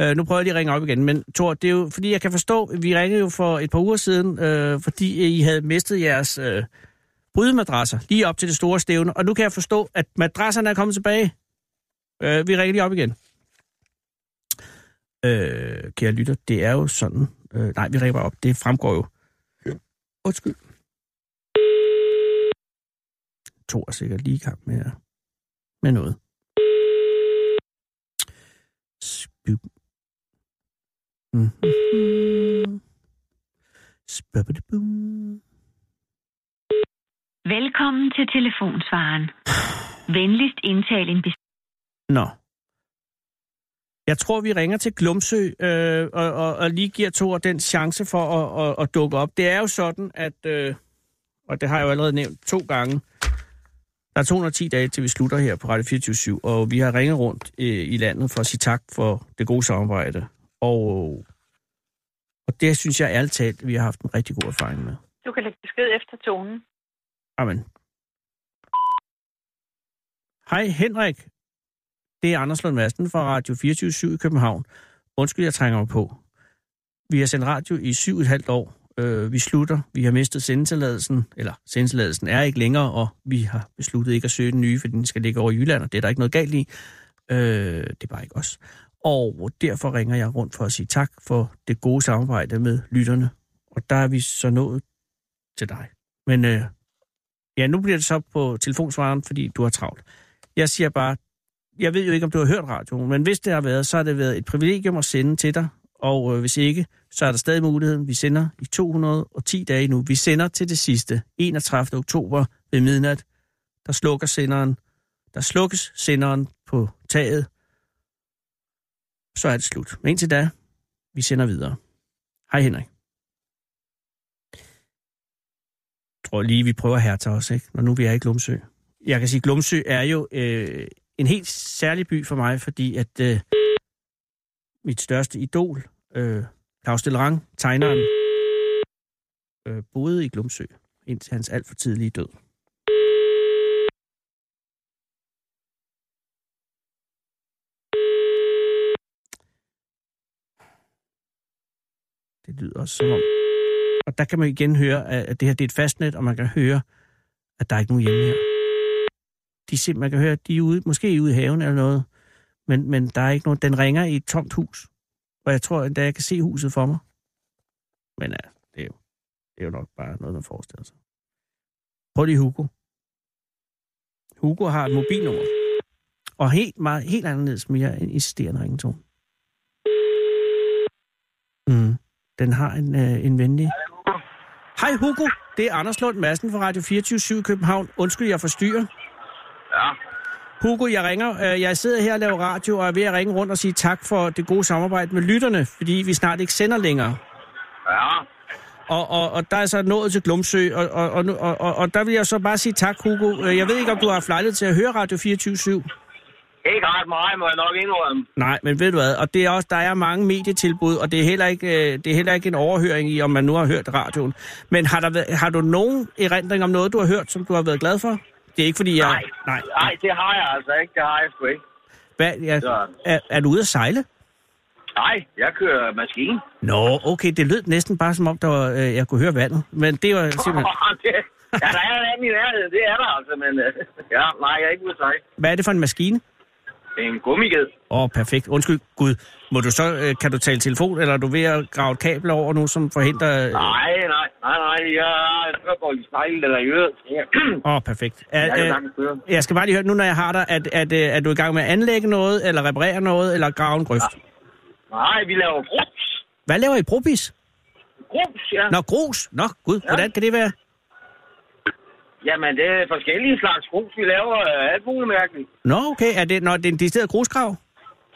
S3: Øh, nu prøver jeg lige at ringe op igen, men Thor, det er jo, fordi jeg kan forstå, vi ringede jo for et par uger siden, øh, fordi I havde mistet jeres øh, brydemadrasser lige op til det store stævne, og nu kan jeg forstå, at madrasserne er kommet tilbage. Øh, vi ringer lige op igen. Øh, kære lytter, det er jo sådan... Øh, nej, vi ringer bare op. Det fremgår jo. Undskyld. Thor er sikkert lige i gang med, at- med noget. Spøb. Mm. Spøbedebum.
S8: Velkommen til telefonsvaren. Venligst indtal en besked.
S3: Nå. Jeg tror, vi ringer til Glumsø øh, og, og, og lige giver Thor den chance for at, at, at dukke op. Det er jo sådan, at, øh, og det har jeg jo allerede nævnt to gange, der er 210 dage, til vi slutter her på Radio 24 og vi har ringet rundt øh, i landet for at sige tak for det gode samarbejde. Og, og det synes jeg ærligt talt, vi har haft en rigtig god erfaring med.
S2: Du kan lægge besked efter tonen.
S3: Amen. Hej Henrik. Det er Anders Lund Madsen fra Radio 24 i København. Undskyld, jeg trænger mig på. Vi har sendt radio i syv og et halvt år. Øh, vi slutter. Vi har mistet sendetilladelsen, eller sendetilladelsen er ikke længere, og vi har besluttet ikke at søge den nye, for den skal ligge over i Jylland, og det er der ikke noget galt i. Øh, det er bare ikke os. Og derfor ringer jeg rundt for at sige tak for det gode samarbejde med lytterne. Og der er vi så nået til dig. Men øh, Ja, nu bliver det så på telefonsvaren, fordi du har travlt. Jeg siger bare, jeg ved jo ikke, om du har hørt radioen, men hvis det har været, så har det været et privilegium at sende til dig. Og øh, hvis ikke, så er der stadig muligheden. Vi sender i 210 dage nu. Vi sender til det sidste, 31. oktober ved midnat. Der slukker senderen. Der slukkes senderen på taget. Så er det slut. Men indtil da, vi sender videre. Hej Henrik. tror lige, vi prøver her til os, ikke? når nu vi er i Glumsø. Jeg kan sige, at Glumsø er jo øh, en helt særlig by for mig, fordi at øh, mit største idol, øh, Claus Delrang, tegneren, øh, boede i Glumsø indtil hans alt for tidlige død. Det lyder også som om, og der kan man igen høre, at at det her det er et fastnet, og man kan høre, at der er ikke nogen hjemme her. De er simpelthen, man kan høre, at de er ude, måske ude i haven eller noget, men, men der er ikke nogen. Den ringer i et tomt hus, og jeg tror endda, jeg kan se huset for mig. Men ja, det er jo, det er jo nok bare noget, man forestiller sig. Prøv lige Hugo. Hugo har et mobilnummer, og helt, meget, helt anderledes mere end insisterende ringetone. Mm. Den har en, øh, en venlig... Hej Hugo, det er Anders Lund Madsen fra Radio 24 i København. Undskyld, jeg forstyrrer.
S5: Ja.
S3: Hugo, jeg ringer. Øh, Jeg sidder her og laver radio, og er ved at ringe rundt og sige tak for det gode samarbejde med lytterne, fordi vi snart ikke sender længere.
S5: Ja.
S3: Og, og, og der er så nået til Glumsø, og, og, og, nu- og, og, og der vil jeg så bare sige tak, Hugo. Øh, Jeg ved ikke, om du har haft lejlighed til at høre Radio 24
S5: Jo,
S9: Ikke ret meget, må jeg nok indrømme.
S3: Nej, men ved du hvad, og det er også, der er mange medietilbud, og det er heller ikke, øh, det er heller ikke en overhøring i, om man nu har hørt radioen. Men har, der været, har du nogen erindring om noget, du har hørt, som du har været glad for? Det er ikke, fordi jeg...
S9: Nej.
S3: Nej.
S9: Nej, det har jeg altså ikke. Det har jeg sgu ikke.
S3: Hvad, jeg,
S9: Sådan.
S3: er, er du ude at sejle?
S9: Nej, jeg kører maskine.
S3: Nå, okay, det lød næsten bare som om, der var, øh, jeg kunne høre vandet. Men det var simpelthen...
S9: Det- ja, der er en anden i nærheden. Det er der altså, men øh, ja, nej, jeg er ikke ude at sejle.
S3: Hvad er det for en maskine?
S9: Det er en gummiged.
S3: Åh, oh, perfekt. Undskyld, Gud. Må du så, øh, kan du tale telefon, eller er du ved at grave et kabel over nu, som forhindrer... øh,
S9: Nej, nej, nej, nej. Jeg, jeg går i spejl eller i øret. Ja.
S3: Åh, oh, perfekt. Er,
S9: Jeg kan
S3: øh,
S9: sagtens høre.
S3: jeg skal bare lige høre, nu når jeg har dig, at, at, øh, er du i gang med at anlægge noget, eller reparere noget, eller grave en grøft?
S9: Nej, vi laver grus.
S3: Hvad laver I brobis?
S9: Grus, ja.
S3: Nå, grus. Nå, Gud, hvordan kan det være?
S9: Jamen, det er forskellige slags grus. Vi laver øh, alt muligt mærkeligt.
S3: Nå, okay. Er det, når det er en decideret grusgrav?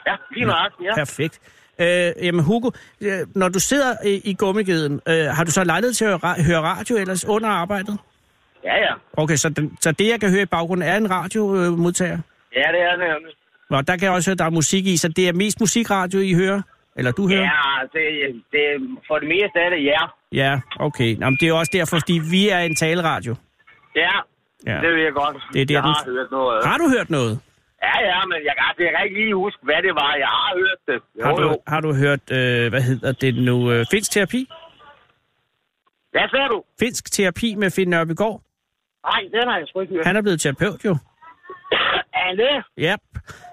S9: Ja, lige nøjagtigt, ja.
S3: Perfekt. Øh, jamen Hugo, øh, når du sidder i, i gummigeden, øh, har du så lejlighed til at høre, ra- høre radio ellers under arbejdet?
S9: Ja, ja.
S3: Okay, så, den, så det, jeg kan høre i baggrunden, er en radiomodtager?
S9: Ja, det er det. nemlig.
S3: Nå, der kan jeg også høre, at der er musik i, så det er mest musikradio, I hører? Eller du hører?
S9: Ja, det, det, for det meste er det ja.
S3: Ja, okay. Nå, men det er jo også derfor, fordi vi er en taleradio.
S9: Ja,
S3: Ja.
S9: det ved jeg godt.
S3: Det er det,
S9: jeg
S3: den-
S9: har hørt noget.
S3: Har du hørt noget?
S9: Ja, ja, men jeg, kan- det kan ikke lige huske, hvad det var. Jeg har hørt det. Jo,
S3: Har
S9: jo.
S3: du, har du hørt, øh, hvad hedder det nu, øh, finsk terapi?
S9: Hvad sagde du?
S3: Finsk terapi med Finn Nørbygård.
S9: Nej, den har jeg sgu ikke hørt.
S3: Han er blevet terapeut jo.
S9: Er det?
S3: Ja,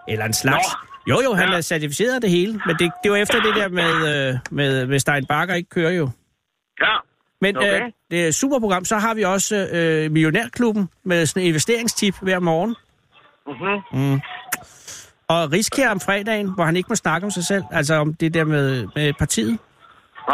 S3: eller en slags. Nå. Jo, jo, han ja.
S9: Ja.
S3: er certificeret af det hele, men det, det var efter det der med, øh, med, med Stein Bakker ikke kører jo.
S9: Ja.
S3: Men
S9: Okay.
S3: øh, det er et super program. Så har vi også øh, Millionærklubben med sådan en investeringstip hver morgen. Mm.
S9: Mm-hmm.
S3: Og Riskær om fredagen, hvor han ikke må snakke om sig selv, altså om det der med, med partiet.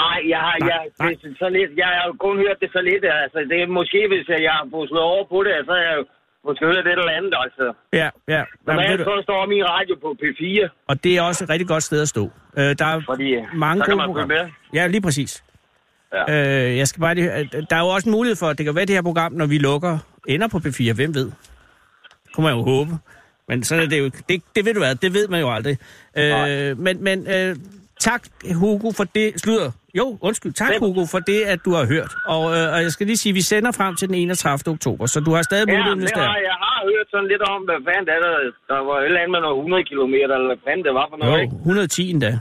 S9: Nej, jeg har jeg,
S3: nej.
S9: det er så lidt. Jeg har jo kun hørt det så lidt. Altså, det er måske, hvis jeg har fået slået over på det, så har jeg jo måske hørt et eller andet. Altså.
S3: Ja, ja. Jamen, ved
S9: Normalt
S3: du,
S9: så står min radio på P4,
S3: og det er også et rigtig godt sted at stå. Øh, der er
S9: fordi øh,
S3: mange
S9: så kan
S3: gode
S9: man følge
S3: programmer.
S9: med.
S3: Ja, lige præcis. Ja. Øh, jeg skal bare lige, høre- der er jo også en mulighed for, at det kan være, at det her program, når vi lukker, ender på P4. Hvem ved? Kunne man jo håbe. Men sådan er det jo. Det, det ved du hvad, det ved man jo aldrig. Øh, men men øh, tak, Hugo, for det. Slutter. Jo, undskyld. Tak,
S9: Hvem?
S3: Hugo, for det, at du har hørt. Og, øh, og jeg skal lige sige, at vi sender frem til den 31. oktober, så du har stadig
S9: Ja,
S3: muligheden, hvis
S9: det
S3: der er.
S9: har, jeg har hørt sådan lidt om, hvad fanden det er, der, der var et eller andet med noget 100 km, eller hvad fanden det var for noget,
S3: Jo,
S9: ikke?
S3: 110 endda.
S9: Ja,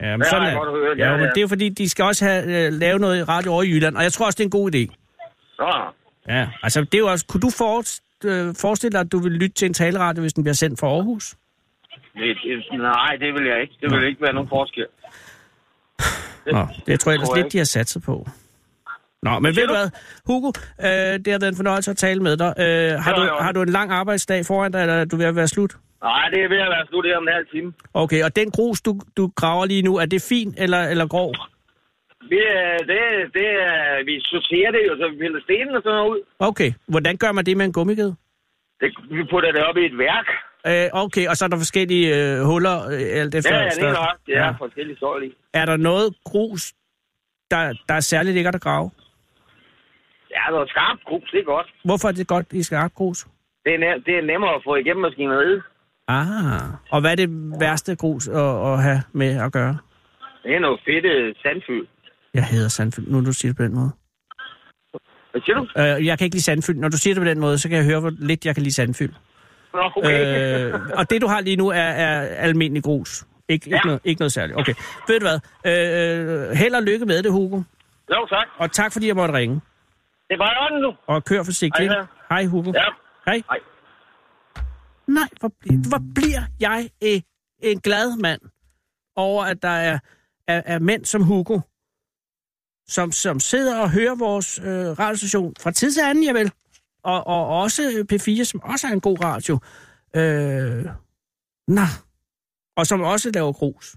S3: Ja, men
S9: det
S3: sådan
S9: har jeg godt hørt.
S3: er. Ja, men det er jo fordi, de skal også have, øh, lave noget radio over i Jylland, og jeg tror også, det er en god idé.
S9: Nå,
S3: Ja, altså det er jo også... Kunne du for, øh, forestille dig, at du vil lytte til en taleradio, hvis den bliver sendt fra Aarhus?
S9: det- det- nej, det vil jeg ikke. Det vil ikke være nogen forskel.
S3: Nå, det tror jeg ellers
S9: tror jeg
S3: lidt,
S9: ikke.
S3: de har sat sig på. Nå, men ved du
S9: du?
S3: hvad, Hugo, øh, det har været en fornøjelse at tale med dig. Øh, har,
S9: Det var i
S3: du,
S9: orden.
S3: har du en lang arbejdsdag foran dig, eller er du ved at være slut?
S9: Nej, det er ved at være slut her om en halv time.
S3: Okay, og den grus, du, du graver lige nu, er det fin eller, eller grov?
S9: Vi, øh, det, det, øh, vi sorterer det jo, så vi piller stenene og sådan noget ud.
S3: Okay, hvordan gør man det med en gummiged?
S9: Det, vi putter det op i et værk.
S3: Øh, okay, og så er der forskellige øh, huller, øh, alt efter
S9: Ja, ja, det er
S3: størrelse.
S9: nok. Det er forskellige stål i.
S3: Er der noget grus, der, der er særligt lækkert at grave?
S9: Ja, noget skarpt grus, det er godt.
S3: Hvorfor er det godt i skarpt grus?
S9: Det er, nem, det er nemmere at få igennem maskineriet.
S3: Ah, og hvad er det værste grus at, at have med at gøre?
S9: Det er noget fedt øh, sandfyld.
S3: Jeg hader sandfyld, nu du siger det på den måde.
S9: Hvad siger du?
S3: Øh, jeg kan ikke lide sandfyld. Når du siger det på den måde, så kan jeg høre, hvor lidt jeg kan lide sandfyld.
S9: Nå, okay. Øh...
S3: Øh, og det, du har lige nu, er, er almindelig grus. Ikke, ikke,
S9: Ja.
S3: noget, ikke noget særligt. Okay, ved du hvad? Øh, held og lykke med det, Hugo.
S9: Jo, tak.
S3: Og tak, fordi jeg måtte ringe.
S9: Det er bare i orden nu.
S3: Og kør forsigtigt.
S9: Hej, ja.
S3: Hej Hugo.
S9: Ja.
S3: Hej.
S9: Hej.
S3: Nej, hvor, bl- hvor bliver jeg øh, en glad mand over, at der er, er, er mænd som Hugo, som, som sidder og hører vores øh, radiostation fra tid til anden, javel. Og, og også P4, som også er en god radio. Øh, nå. Og som også laver grus.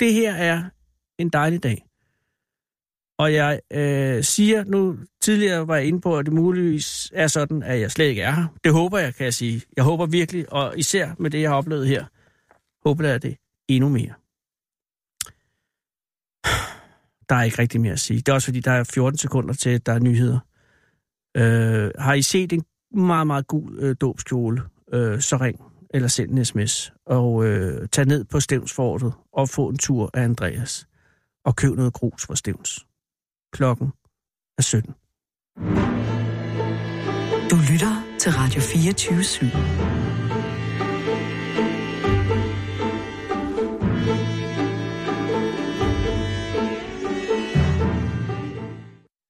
S3: Det her er en dejlig dag. Og jeg øh, siger nu, tidligere var jeg inde på, at det muligvis er sådan, at jeg slet ikke er her. Det håber jeg, kan jeg sige. Jeg håber virkelig, og især med det, jeg har oplevet her, håber jeg det endnu mere. Der er ikke rigtig mere at sige. Det er også fordi, der er 14 sekunder til, at der er nyheder. Øh, har I set en meget, meget gul øh, dåbskjole, øh, så ring. eller send en sms, og øh, tag ned på Stevnsfortet og få en tur af Andreas, og køb noget grus for Stevns. Klokken er 17.
S10: Du lytter til Radio 24 /7.